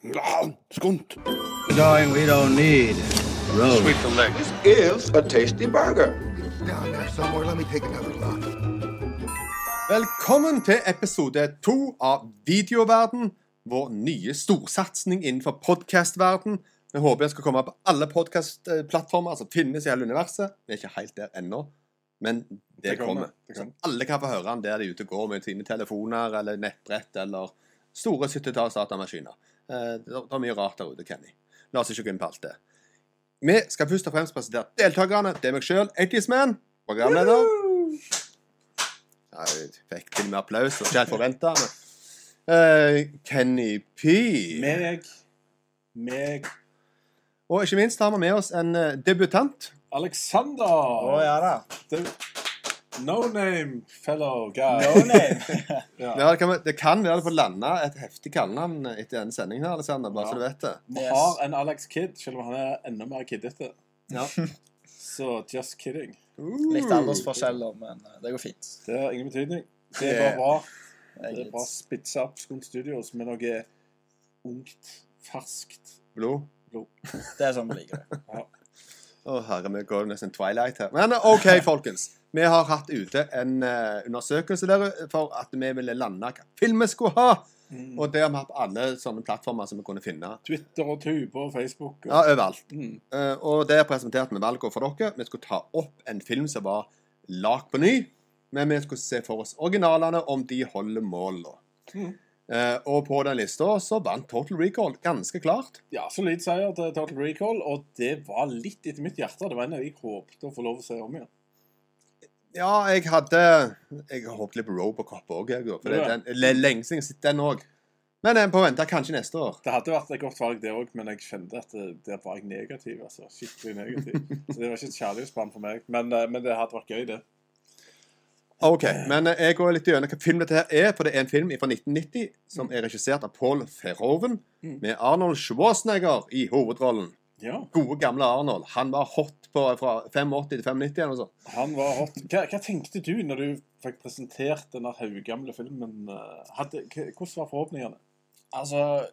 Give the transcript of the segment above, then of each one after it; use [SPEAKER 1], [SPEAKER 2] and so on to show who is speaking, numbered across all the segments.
[SPEAKER 1] Skunt.
[SPEAKER 2] Darling, we don't need roads.
[SPEAKER 3] is a tasty burger.
[SPEAKER 1] Down there somewhere. Let me take another look.
[SPEAKER 4] Velkommen til episode to av Videoverden, vår nye storsatsing innenfor podcastverden. Vi håper jeg skal komme på alle podcastplattformer som finnes i hele universet. Vi er ikke helt der ennå, men det,
[SPEAKER 5] Det kommer,
[SPEAKER 4] kommer.
[SPEAKER 5] det
[SPEAKER 4] Så
[SPEAKER 5] kommer.
[SPEAKER 4] alle kan få høre den der de er ute og går med sine telefoner eller nettbrett eller store 70-talls datamaskiner. Eh, Det er mye rart der ute, Kenny. La oss ikke gå inn på alt det. Vi skal først og fremst presentere deltakerne. Det er meg sjøl, 80's Man, programleder. Ja, Jeg fikk til og med applaus, og ikke helt forventa. Kenny P.
[SPEAKER 5] Meg, meg
[SPEAKER 4] Og ikke minst har vi med oss en eh, debutant.
[SPEAKER 5] Alexander!
[SPEAKER 6] Å ja da.
[SPEAKER 5] The no name fellow guy.
[SPEAKER 6] No name.
[SPEAKER 5] Ja.
[SPEAKER 4] Ja, det, kan, være- det kan være det får landa et heftig kallenavn etter denne sendingen, her, Alexander, bare så du vet det.
[SPEAKER 5] Vi
[SPEAKER 6] Yes.
[SPEAKER 5] har en Alex Kid, selv om han er enda mer kiddete.
[SPEAKER 4] Ja.
[SPEAKER 5] Så just kidding.
[SPEAKER 4] Uh,
[SPEAKER 6] Litt aldersforskjell, da, men eh, det går fint.
[SPEAKER 5] Det har ingen betydning. Det
[SPEAKER 4] Det-
[SPEAKER 5] er bare bra. Det
[SPEAKER 6] Jeg
[SPEAKER 5] er bare spitsa opp Skunt Studios med noe ungt, ferskt.
[SPEAKER 4] Blod.
[SPEAKER 6] Det er sånn vi liker det.
[SPEAKER 4] Å, herre, vi går nesten Twilight her. Men eh, OK, folkens. Vi har hatt ute en eh, undersøkelse der eh, for at vi ville lande hva film vi skulle ha.
[SPEAKER 5] Mm.
[SPEAKER 4] Og det har vi hatt på alle sånne plattformer som vi kunne finne.
[SPEAKER 5] Twitter og Tube og Facebook. Og,
[SPEAKER 4] Ja, overalt.
[SPEAKER 5] Mm.
[SPEAKER 4] Eh, og der presenterte vi valgene for dere. Vi skulle ta opp en film som var lagd på ny, men vi skulle se for oss originalene, om de holder mål. da.
[SPEAKER 5] Mm.
[SPEAKER 4] Eh, og på den lista så vant Total Recall ganske klart.
[SPEAKER 5] ja, solid seier til Total Recall, og det var litt etter mitt hjerte. Det var en av de jeg håpte å få lov å se om igjen.
[SPEAKER 4] Ja, jeg hadde Jeg håpet litt på Robocop òg, jeg. For det er den- det er lenge siden jeg har sett den òg. Men jeg får vente kanskje neste år.
[SPEAKER 5] Det hadde vært et godt valg, det òg, men jeg kjente at det, der var jeg negativ. altså. Skikkelig negativ. Så det var ikke et kjærlighetsbarn for meg. Men, eh, men det hadde vært gøy, det.
[SPEAKER 4] OK. Men eh, jeg går litt gjennom hva film dette her er, for det er en film fra 1990 som er regissert av Paul Verhoeven
[SPEAKER 5] Mm.
[SPEAKER 4] med Arnold Schwarzenegger i hovedrollen.
[SPEAKER 5] Ja,
[SPEAKER 4] gode gamle Arnold. Han var hot på fra 85 til 95 eller noe sånt.
[SPEAKER 5] han var hot. Hva, hva tenkte du når du fikk presentert denne haugamle filmen? eh, Hadde, hva- hvordan var forhåpningene?
[SPEAKER 6] Altså,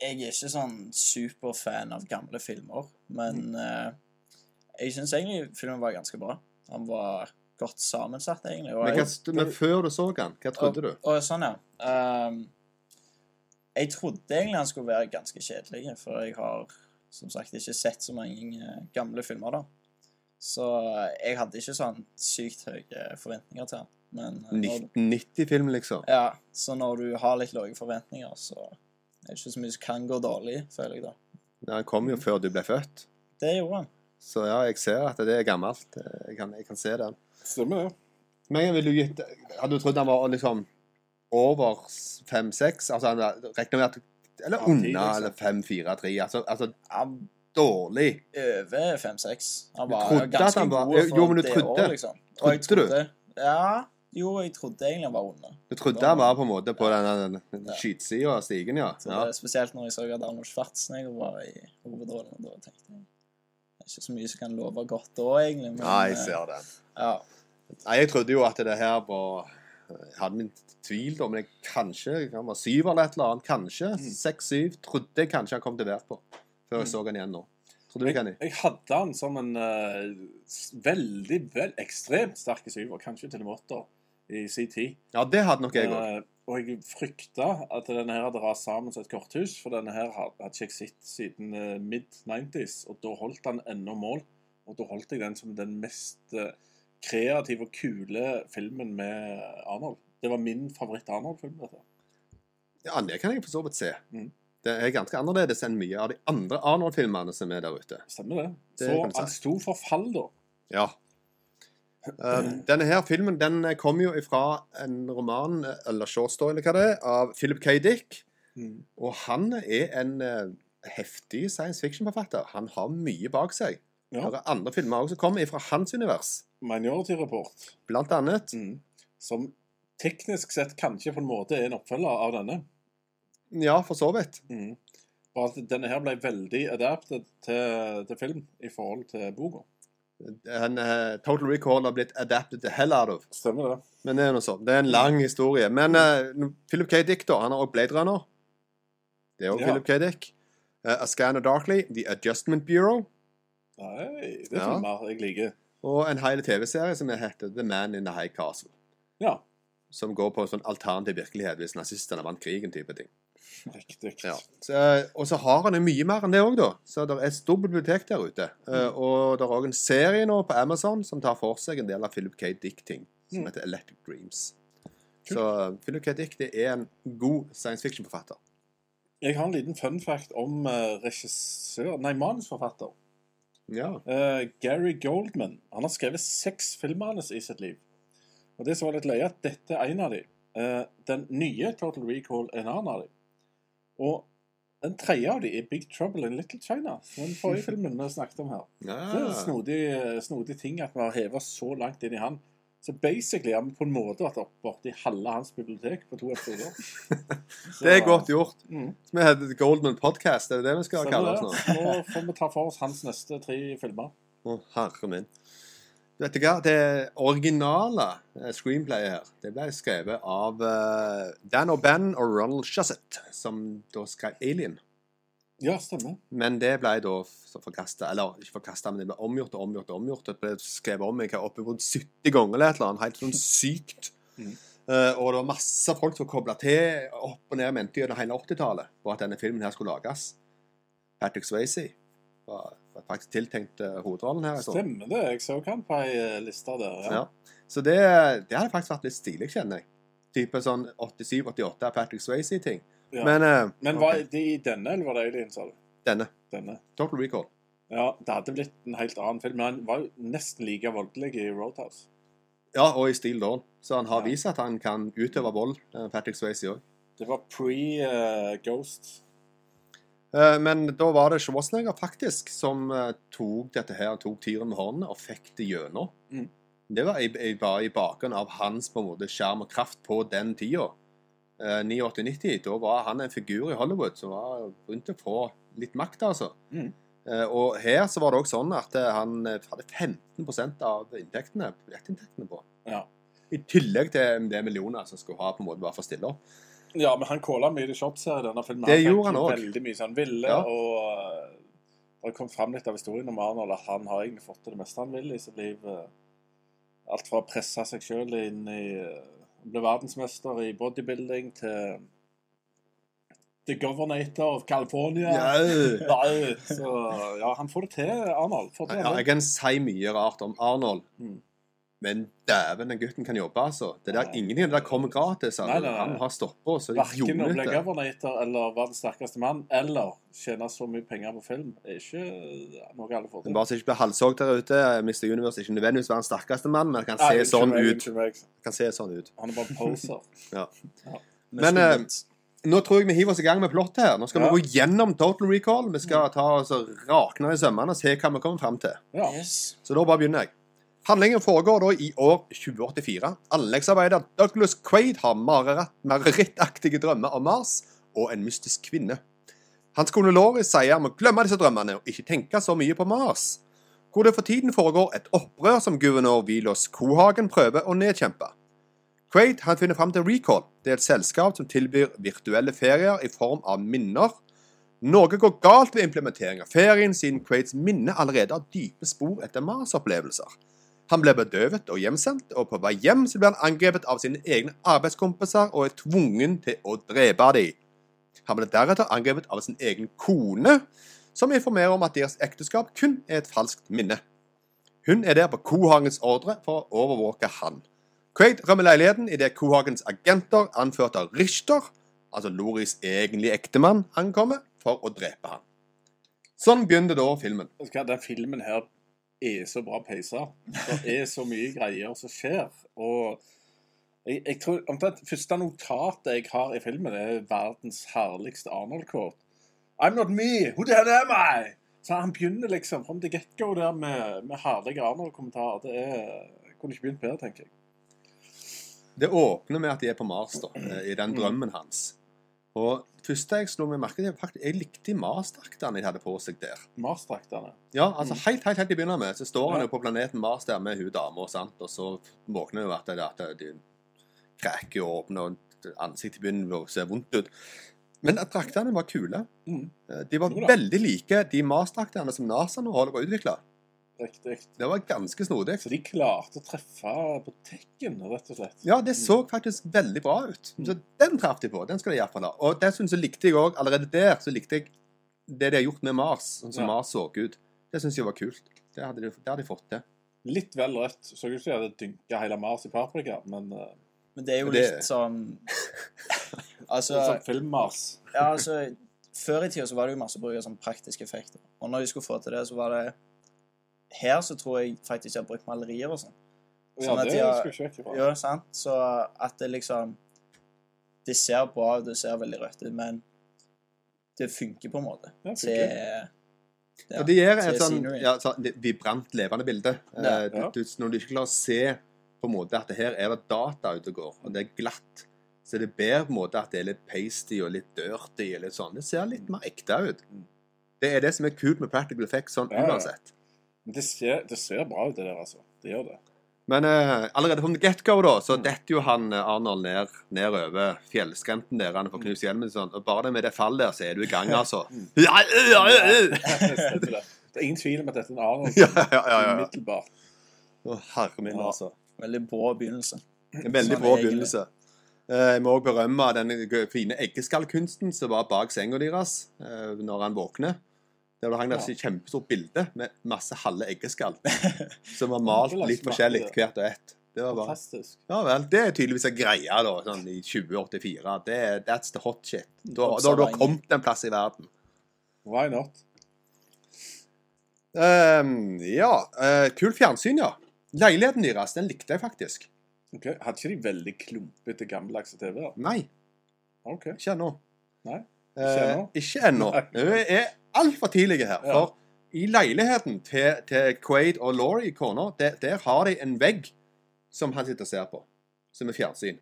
[SPEAKER 6] jeg er ikke sånn superfan av gamle filmer, men eh, jeg syns egentlig filmen var ganske bra. Han var godt sammensatt, egentlig. og
[SPEAKER 4] Men,
[SPEAKER 6] jeg-
[SPEAKER 4] hva, men før du så han, hva trodde du?
[SPEAKER 6] Og, og sånn, ja. Ehm, jeg trodde egentlig han skulle være ganske kjedelig, for jeg har som sagt ikke sett så mange eh, gamle filmer, da. Så jeg hadde ikke sånn sykt høye forventninger til han. Men eh, når,
[SPEAKER 4] 1990-film, liksom.
[SPEAKER 6] ja, så når du har litt lave forventninger, så er det ikke så mye som kan gå dårlig, føler jeg, da.
[SPEAKER 4] Ja, Han kom jo før du ble født.
[SPEAKER 6] Det gjorde han.
[SPEAKER 4] Så ja, jeg ser at det er gammelt. Jeg kan, jeg kan se den.
[SPEAKER 5] Stemmer det.
[SPEAKER 4] Men jeg ville jo gitt Hadde du trodd han var liksom over 5-6? Altså han var- regner med at Eller
[SPEAKER 5] Ja, ti,
[SPEAKER 4] unna,
[SPEAKER 5] liksom.
[SPEAKER 4] eller 5-4-3. Altså, altså
[SPEAKER 6] Han
[SPEAKER 4] dårlig.
[SPEAKER 6] over 5-6. Han
[SPEAKER 4] Du
[SPEAKER 6] var
[SPEAKER 4] trodde
[SPEAKER 6] jo
[SPEAKER 4] at
[SPEAKER 6] ganske
[SPEAKER 4] han var-
[SPEAKER 6] god for
[SPEAKER 4] jo, men du
[SPEAKER 6] det
[SPEAKER 4] trodde-
[SPEAKER 6] år, liksom. Og jeg
[SPEAKER 4] trodde du?
[SPEAKER 6] trodde Ja. Jo, jeg trodde egentlig han var under.
[SPEAKER 4] Du trodde han var på en måte på den, den skytsida av stigen, ja.
[SPEAKER 6] Så
[SPEAKER 4] ja.
[SPEAKER 6] det er Spesielt når jeg så at Arnold Schwarzenegger var i hovedrollen. og Da tenkte jeg det er ikke så mye som kan love godt da, egentlig. Men,
[SPEAKER 4] Ja, jeg
[SPEAKER 6] eh,
[SPEAKER 4] ser den.
[SPEAKER 6] Ja,
[SPEAKER 4] Nei, jeg trodde jo at det her var Jeg hadde min tvil, da, men jeg kanskje Han var syv eller et eller annet. Kanskje. Seks-syv. Trodde jeg kanskje han kom til å være på. Før jeg så han igjen nå. Trodde du,
[SPEAKER 5] Jeg,
[SPEAKER 4] Kenny?
[SPEAKER 5] jeg hadde han som en eh, s- veldig, vel, ekstremt sterk syver, kanskje til en åtter, i sin tid.
[SPEAKER 4] Ja, det hadde nok jeg òg.
[SPEAKER 5] Eh, og jeg frykta at denne her hadde rast sammen som et korthus, for denne her had- hadde ikke jeg sett siden eh, mid-90s, og da holdt han ennå mål. Og da holdt jeg den som den mest eh, kreative og kule filmen med Arnold. Det var min favoritt-Arnold-film. dette.
[SPEAKER 4] Ja, det kan jeg for så vidt se.
[SPEAKER 5] Mm.
[SPEAKER 4] Det er ganske annerledes enn mye av de andre Arnold-filmene som er der ute.
[SPEAKER 5] Stemmer det?
[SPEAKER 4] Det
[SPEAKER 5] Så
[SPEAKER 4] kan du si.
[SPEAKER 5] han sto for fall, da.
[SPEAKER 4] Ja. Um, denne her filmen den kom jo ifra en roman, eh, eller shortstory, eller hva det er, av Philip K. Dick.
[SPEAKER 5] Mm.
[SPEAKER 4] Og han er en eh, heftig science fiction-forfatter. Han har mye bak seg.
[SPEAKER 5] Ja.
[SPEAKER 4] Det er andre filmer også som kommer fra hans univers.
[SPEAKER 5] Minority Report,
[SPEAKER 4] Blant annet.
[SPEAKER 5] mm. som teknisk sett kanskje på en måte er en oppfølger av denne.
[SPEAKER 4] Ja, for så vidt.
[SPEAKER 5] Mm. Bare at denne her ble veldig adapted til, til film i forhold til boka.
[SPEAKER 4] En, eh, Total Recall har blitt adapted the hell out of.
[SPEAKER 5] Stemmer det.
[SPEAKER 4] Men det er noe sånn. Det er en lang historie. Men eh, Philip K. Dick, da, han har også Blade Runner. Det er òg
[SPEAKER 5] Ja.
[SPEAKER 4] Philip K. Dick. Eh, A Scanner Darkly, The Adjustment Bureau
[SPEAKER 5] Nei, det er
[SPEAKER 4] Ja.
[SPEAKER 5] filmer jeg liker.
[SPEAKER 4] og en hel TV-serie som heter The Man in the High Castle.
[SPEAKER 5] Ja,
[SPEAKER 4] Som går på en sånn alternativ virkelighet hvis nazistene vant krigen-type ting.
[SPEAKER 5] riktig.
[SPEAKER 4] Ja. Så, eh, og så har han jo mye mer enn det òg, da. Så det er et stort bibliotek der ute. Eh,
[SPEAKER 5] Mm.
[SPEAKER 4] Og det er òg en serie nå på Amazon som tar for seg en del av Philip K. Dick-ting, som
[SPEAKER 5] Mm.
[SPEAKER 4] heter Electric Dreams. Så eh, Philip K. Dick det er en god science fiction-forfatter.
[SPEAKER 5] Jeg har en liten fun fact om eh, regissør Nei, manusforfatter.
[SPEAKER 4] Ja.
[SPEAKER 5] Eh, Gary Goldman. Han har skrevet seks filmmanus i sitt liv. Og det som var litt løye, er at dette er en av dem. den nye Total Recall er en annen av dem. Og den tredje av dem er Big Trouble in Little China. som Den forrige filmen vi snakket om her. Det er en
[SPEAKER 4] ja.
[SPEAKER 5] snodig, eh, snodig ting at vi har heva så langt inn i han. Så basically har vi på en måte vært opp borti halve hans bibliotek på to episoder. Så-
[SPEAKER 4] Det er godt gjort.
[SPEAKER 5] Mm.
[SPEAKER 4] Vi heter The Goldman Podcast, er det det sånn? vi skal
[SPEAKER 5] Stemmer
[SPEAKER 4] kalle oss nå?
[SPEAKER 5] det. Nå får vi ta for oss hans neste tre filmer.
[SPEAKER 4] Å, herre min. Vet du hva? Det originale eh, screenplayet her det ble skrevet av eh, Dan O'Bannon og Ronald Shusett, som da skrev Alien.
[SPEAKER 5] Ja, stemmer.
[SPEAKER 4] Men det ble da forkasta, eller ikke forkasta, men det ble omgjort og omgjort og omgjort. Det ble skrevet om jeg har oppimot 70 ganger eller et eller annet, helt sånn sykt.
[SPEAKER 5] Mhm.
[SPEAKER 4] Eh, og det var masse folk som kobla til opp og ned i mente gjennom hele 80-tallet på at denne filmen her skulle lages. Patrick Swayze var, var faktisk tiltenkt eh, hovedrollen her. jeg tror.
[SPEAKER 5] Stemmer det. Jeg så han på ei eh, liste der. Ja.
[SPEAKER 4] Ja. Så det, det hadde faktisk vært litt stilig, kjenner jeg. Type sånn 87-88 Patrick Swayze-ting.
[SPEAKER 5] Ja.
[SPEAKER 4] Men, eh,
[SPEAKER 5] Men
[SPEAKER 4] ok,
[SPEAKER 5] var det i denne, eller var det Alien, sa du?
[SPEAKER 4] denne.
[SPEAKER 5] Denne.
[SPEAKER 4] Total Recall.
[SPEAKER 5] Ja, det hadde blitt en helt annen film. Men han var jo nesten like voldelig i Roadhouse.
[SPEAKER 4] Ja, og i Steel Dawn. Så han har
[SPEAKER 5] Ja.
[SPEAKER 4] vist at han kan utøve vold, eh, Patrick Swayze òg.
[SPEAKER 5] Det var eh, pre-Ghost.
[SPEAKER 4] Eh, Men da var det Schwarzenegger faktisk som eh, tok dette her, tok tyren med hånden og fikk det gjennom.
[SPEAKER 5] Mm.
[SPEAKER 4] Det var i, i, var i bakgrunn av hans på en måte skjerm og kraft på den tida. Eh, 89-90, da var han en figur i Hollywood som var rundt å få litt makt, altså.
[SPEAKER 5] Mm.
[SPEAKER 4] Eh, Og her så var det òg sånn at eh, han eh, hadde 15 av inntektene, billettinntektene på.
[SPEAKER 5] Ja.
[SPEAKER 4] I tillegg til en del millioner som skulle ha på en måte bare for å stille opp.
[SPEAKER 5] Ja, men han calla mye i shots her i denne filmen.
[SPEAKER 4] Det
[SPEAKER 5] fikk
[SPEAKER 4] gjorde han
[SPEAKER 5] jo
[SPEAKER 4] også.
[SPEAKER 5] Veldig mye som han ville,
[SPEAKER 4] Ja.
[SPEAKER 5] og eh, det kom fram litt av historien om Arnold at han har egentlig fått til det meste han vil i sitt liv. eh, Alt fra å presse seg sjøl inn i eh, Ble verdensmester i bodybuilding til The Governator of California.
[SPEAKER 4] Ja.
[SPEAKER 5] Nei, så ja, han får det til, Arnold. Får det til.
[SPEAKER 4] Ja, jeg kan si mye rart om Arnold,
[SPEAKER 5] Mm.
[SPEAKER 4] men dæven, den gutten kan jobbe, altså. Det der,
[SPEAKER 5] Nei.
[SPEAKER 4] ingenting av det der kommer gratis.
[SPEAKER 5] Nei, nei,
[SPEAKER 4] Altså.
[SPEAKER 5] nei.
[SPEAKER 4] Han har stoppa, så det
[SPEAKER 5] Verken å
[SPEAKER 4] gjorde
[SPEAKER 5] bli
[SPEAKER 4] det.
[SPEAKER 5] governator eller være den sterkeste mann, eller tjene så mye penger på film, er ikke eh, noe alle får
[SPEAKER 4] Men
[SPEAKER 5] til.
[SPEAKER 4] bare så ikke blir halshogd der ute. Mr. Universe er ikke nødvendigvis være den sterkeste mannen, men kan
[SPEAKER 5] Nei,
[SPEAKER 4] se,
[SPEAKER 5] unnskyld
[SPEAKER 4] sånn
[SPEAKER 5] meg,
[SPEAKER 4] ut.
[SPEAKER 5] unnskyld meg.
[SPEAKER 4] kan se sånn ut.
[SPEAKER 5] Han er bare en poser.
[SPEAKER 4] Men, eh, Nå tror jeg vi hiver oss i gang med plottet her. Nå skal
[SPEAKER 5] Ja. Mm.
[SPEAKER 4] vi gå gjennom Total Recall. Vi skal ta oss og rakne i sømmene og se hva vi kommer fram til.
[SPEAKER 5] Ja.
[SPEAKER 6] Yes.
[SPEAKER 4] Så da bare begynner jeg. Handlingen foregår da i år 2084. Anleggsarbeider Douglas Quaid har mareritt- marerittaktige drømmer om Mars og en mystisk kvinne. Hans kone Laurie sier han må glemme disse drømmene og ikke tenke så mye på Mars. Hvor det for tiden foregår et opprør som guvernør Vilos Kohagen prøver å nedkjempe. Quaid han finner fram til Recall. Det er et selskap som tilbyr virtuelle ferier i form av minner noe går galt ved implementering av ferien, siden Quaids minne allerede har dype spor etter Mars-opplevelser. Han ble bedøvet og hjemsendt, og på vei hjem så ble han angrepet av sine egne arbeidskompiser og er tvungen til å drepe dem. Han ble deretter angrepet av sin egen kone, som informerer om at deres ekteskap kun er et falskt minne. Hun er der på Kohagens ordre for å overvåke han. Quaid rømmer leiligheten idet Kohagens agenter, anført av Richter, altså Loris egentlige ektemann, ankommer for å drepe ham. Sånn begynte da filmen.
[SPEAKER 5] Vet du hva, Den filmen her er så bra peisa. Det er så mye greier som skjer. Og jeg, jeg tror omtrent første notatet jeg har i filmen, er verdens herligste Arnold-kort. I'm not me! Who the hell am I? Så han begynner liksom from the get-go der med, med herlige Arnold-kommentarer. Det er jeg kunne ikke begynt bedre, tenker jeg.
[SPEAKER 4] Det åpner med at de er på Mars, da, eh, i
[SPEAKER 5] Mm.
[SPEAKER 4] den drømmen hans. Og det første jeg slo meg merke til, faktisk, jeg likte Mars-draktene de hadde på seg der.
[SPEAKER 5] Mars-draktene.
[SPEAKER 4] Ja, altså helt, helt, helt i begynnelsen med, så står
[SPEAKER 5] Mm.
[SPEAKER 4] han
[SPEAKER 5] Ja.
[SPEAKER 4] jo på planeten Mars der med hun dama, sant, og så våkner hun at det, at det de kreker og åpner, og ansiktet begynner å se vondt ut. Men at draktene var kule.
[SPEAKER 5] Mm.
[SPEAKER 4] Eh, De var
[SPEAKER 5] Jo da.
[SPEAKER 4] veldig like de Mars-draktene som NASA nå holder på å utvikle.
[SPEAKER 5] Riktig.
[SPEAKER 4] Det var ganske snodig.
[SPEAKER 5] Så de klarte å treffe på tekken, rett og slett.
[SPEAKER 4] Ja, det så faktisk veldig bra ut.
[SPEAKER 5] Mm.
[SPEAKER 4] Så den traff de på. Den skal de iallfall ha. Og dessuten så likte jeg òg, allerede der, så likte jeg det de har gjort med Mars, sånn som
[SPEAKER 5] Ja.
[SPEAKER 4] Mars så ut. Det syns jeg var kult. Det hadde de, det hadde de fått til.
[SPEAKER 5] Litt vel rødt. Så ut som de hadde dynka hele Mars i paprika, men uh,
[SPEAKER 6] Men det er jo
[SPEAKER 4] Det-
[SPEAKER 6] litt sånn Altså,
[SPEAKER 5] sånn film-Mars
[SPEAKER 6] ja, altså Før i tida så var det jo masse bruk av sånn praktiske effekter. Og når de skulle få til det, så var det Her så tror jeg faktisk de har brukt malerier og sånn.
[SPEAKER 5] Ja,
[SPEAKER 6] Sånn at
[SPEAKER 5] det
[SPEAKER 6] de har-
[SPEAKER 5] skulle jeg ikke vekk fra.
[SPEAKER 6] Ja, sant? Så at det liksom Det ser bra ut, det ser veldig rødt ut, men det funker på en måte.
[SPEAKER 5] Ja, funker.
[SPEAKER 6] Det er- ja,
[SPEAKER 4] Og det gir
[SPEAKER 6] til
[SPEAKER 4] et sånn,
[SPEAKER 6] scenery.
[SPEAKER 4] ja, sånn li- vibrant, levende bilde.
[SPEAKER 6] Ja,
[SPEAKER 4] Eh,
[SPEAKER 5] ja.
[SPEAKER 4] Du, du, når du ikke klarer å se på en måte at det her er det data ute og går, og det er glatt, så er det bedre på en måte at det er litt pasty og litt dirty. og litt sånn. Det ser
[SPEAKER 5] Mm.
[SPEAKER 4] litt mer ekte ut. Det er det som er kult med practical effects sånn
[SPEAKER 5] Ja, ja.
[SPEAKER 4] uansett.
[SPEAKER 5] Men det ser, det ser bra ut, det der, altså. Det gjør det.
[SPEAKER 4] Men eh, allerede from the get-go da, så detter jo han eh, Arnold ned, ned over fjellskrenten der. Han får knust hjelmen sånn. Og bare med det fallet der, så er du i gang, altså. Ja, ja, ja, ja.
[SPEAKER 5] Stemmer det. Det er ingen tvil om at dette er en Arnold.
[SPEAKER 4] Ja, ja, ja, ja.
[SPEAKER 5] Umiddelbart.
[SPEAKER 4] Å, herre min,
[SPEAKER 5] Ja.
[SPEAKER 4] altså.
[SPEAKER 6] Veldig brå begynnelse.
[SPEAKER 4] En veldig
[SPEAKER 6] Sånn
[SPEAKER 4] bra
[SPEAKER 6] egentlig.
[SPEAKER 4] begynnelse. Eh, Jeg må òg berømme den g- fine eggeskallkunsten som var bak senga deres eh, når han våkner. Der det hang der et kjempestort bilde med masse halve eggeskall som var malt
[SPEAKER 5] Hvordan
[SPEAKER 4] litt
[SPEAKER 5] smakte
[SPEAKER 4] forskjellig
[SPEAKER 5] det?
[SPEAKER 4] hvert og ett. Det var bare
[SPEAKER 5] Fantastisk.
[SPEAKER 4] Ja vel. Det er tydeligvis en greie da, sånn i 2084. Det, er- that's the hot shit. Da, da har du kommet en plass i verden.
[SPEAKER 5] Why not?
[SPEAKER 4] Ehm, ja. eh, kult fjernsyn, ja. Leiligheten deres, den likte jeg faktisk.
[SPEAKER 5] Ok, Hadde ikke de veldig klumpete, gammeldagse TV-er?
[SPEAKER 4] Nei,
[SPEAKER 5] OK.
[SPEAKER 4] ikke ennå.
[SPEAKER 5] Nei,
[SPEAKER 4] Ikke
[SPEAKER 5] ennå?
[SPEAKER 4] ennå. Ikke ennå.
[SPEAKER 5] Nei.
[SPEAKER 4] Vi er altfor tidlige her.
[SPEAKER 5] Ja.
[SPEAKER 4] For i leiligheten til, til Quaid og Laurie, kona, der, der har de en vegg som han sitter og ser på, som er fjernsyn.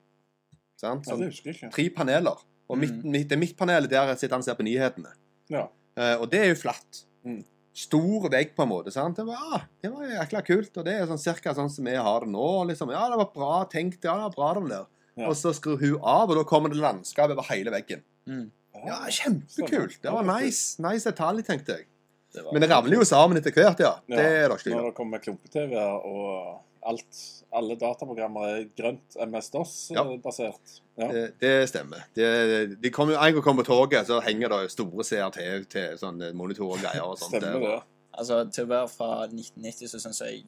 [SPEAKER 4] Sant?
[SPEAKER 5] Ja, det
[SPEAKER 4] Som
[SPEAKER 5] husker jeg ikke.
[SPEAKER 4] tre paneler. Og midt,
[SPEAKER 6] Mhm.
[SPEAKER 4] midt, det midtpanelet der sitter han og ser på nyhetene.
[SPEAKER 5] Mm. Ja.
[SPEAKER 4] Eh, og det er jo flatt.
[SPEAKER 5] Mm.
[SPEAKER 4] Stor vegg, på en måte. sant? Det var, ah, det var jækla kult. Og det er sånn cirka sånn som vi har det nå. liksom. Ja, det var bra tenkt. Ja, det var bra, den der.
[SPEAKER 5] Ja.
[SPEAKER 4] Og så skrur hun av, og da kommer det landskap over hele veggen.
[SPEAKER 6] Mm.
[SPEAKER 5] Ah.
[SPEAKER 4] Ja, Kjempekult. Det
[SPEAKER 5] sånn,
[SPEAKER 4] var nice. Nice detalj, tenkte jeg.
[SPEAKER 6] Det var
[SPEAKER 4] Men det ramler jo sammen etter hvert, ja.
[SPEAKER 5] Ja,
[SPEAKER 4] Det er det ikke tvil
[SPEAKER 5] Når
[SPEAKER 4] om.
[SPEAKER 5] det kommer klumpe-TV-er og alt Alle dataprogrammer er grønt
[SPEAKER 4] Ja.
[SPEAKER 5] MS-DOS-basert. eh, Ja.
[SPEAKER 4] Det, det stemmer. Det, de kommer, en gang kommer på toget, så henger det store CRT til sånne monitorer og greier og sånt.
[SPEAKER 5] Stemmer det.
[SPEAKER 6] Altså, til å være fra 1990 så syns jeg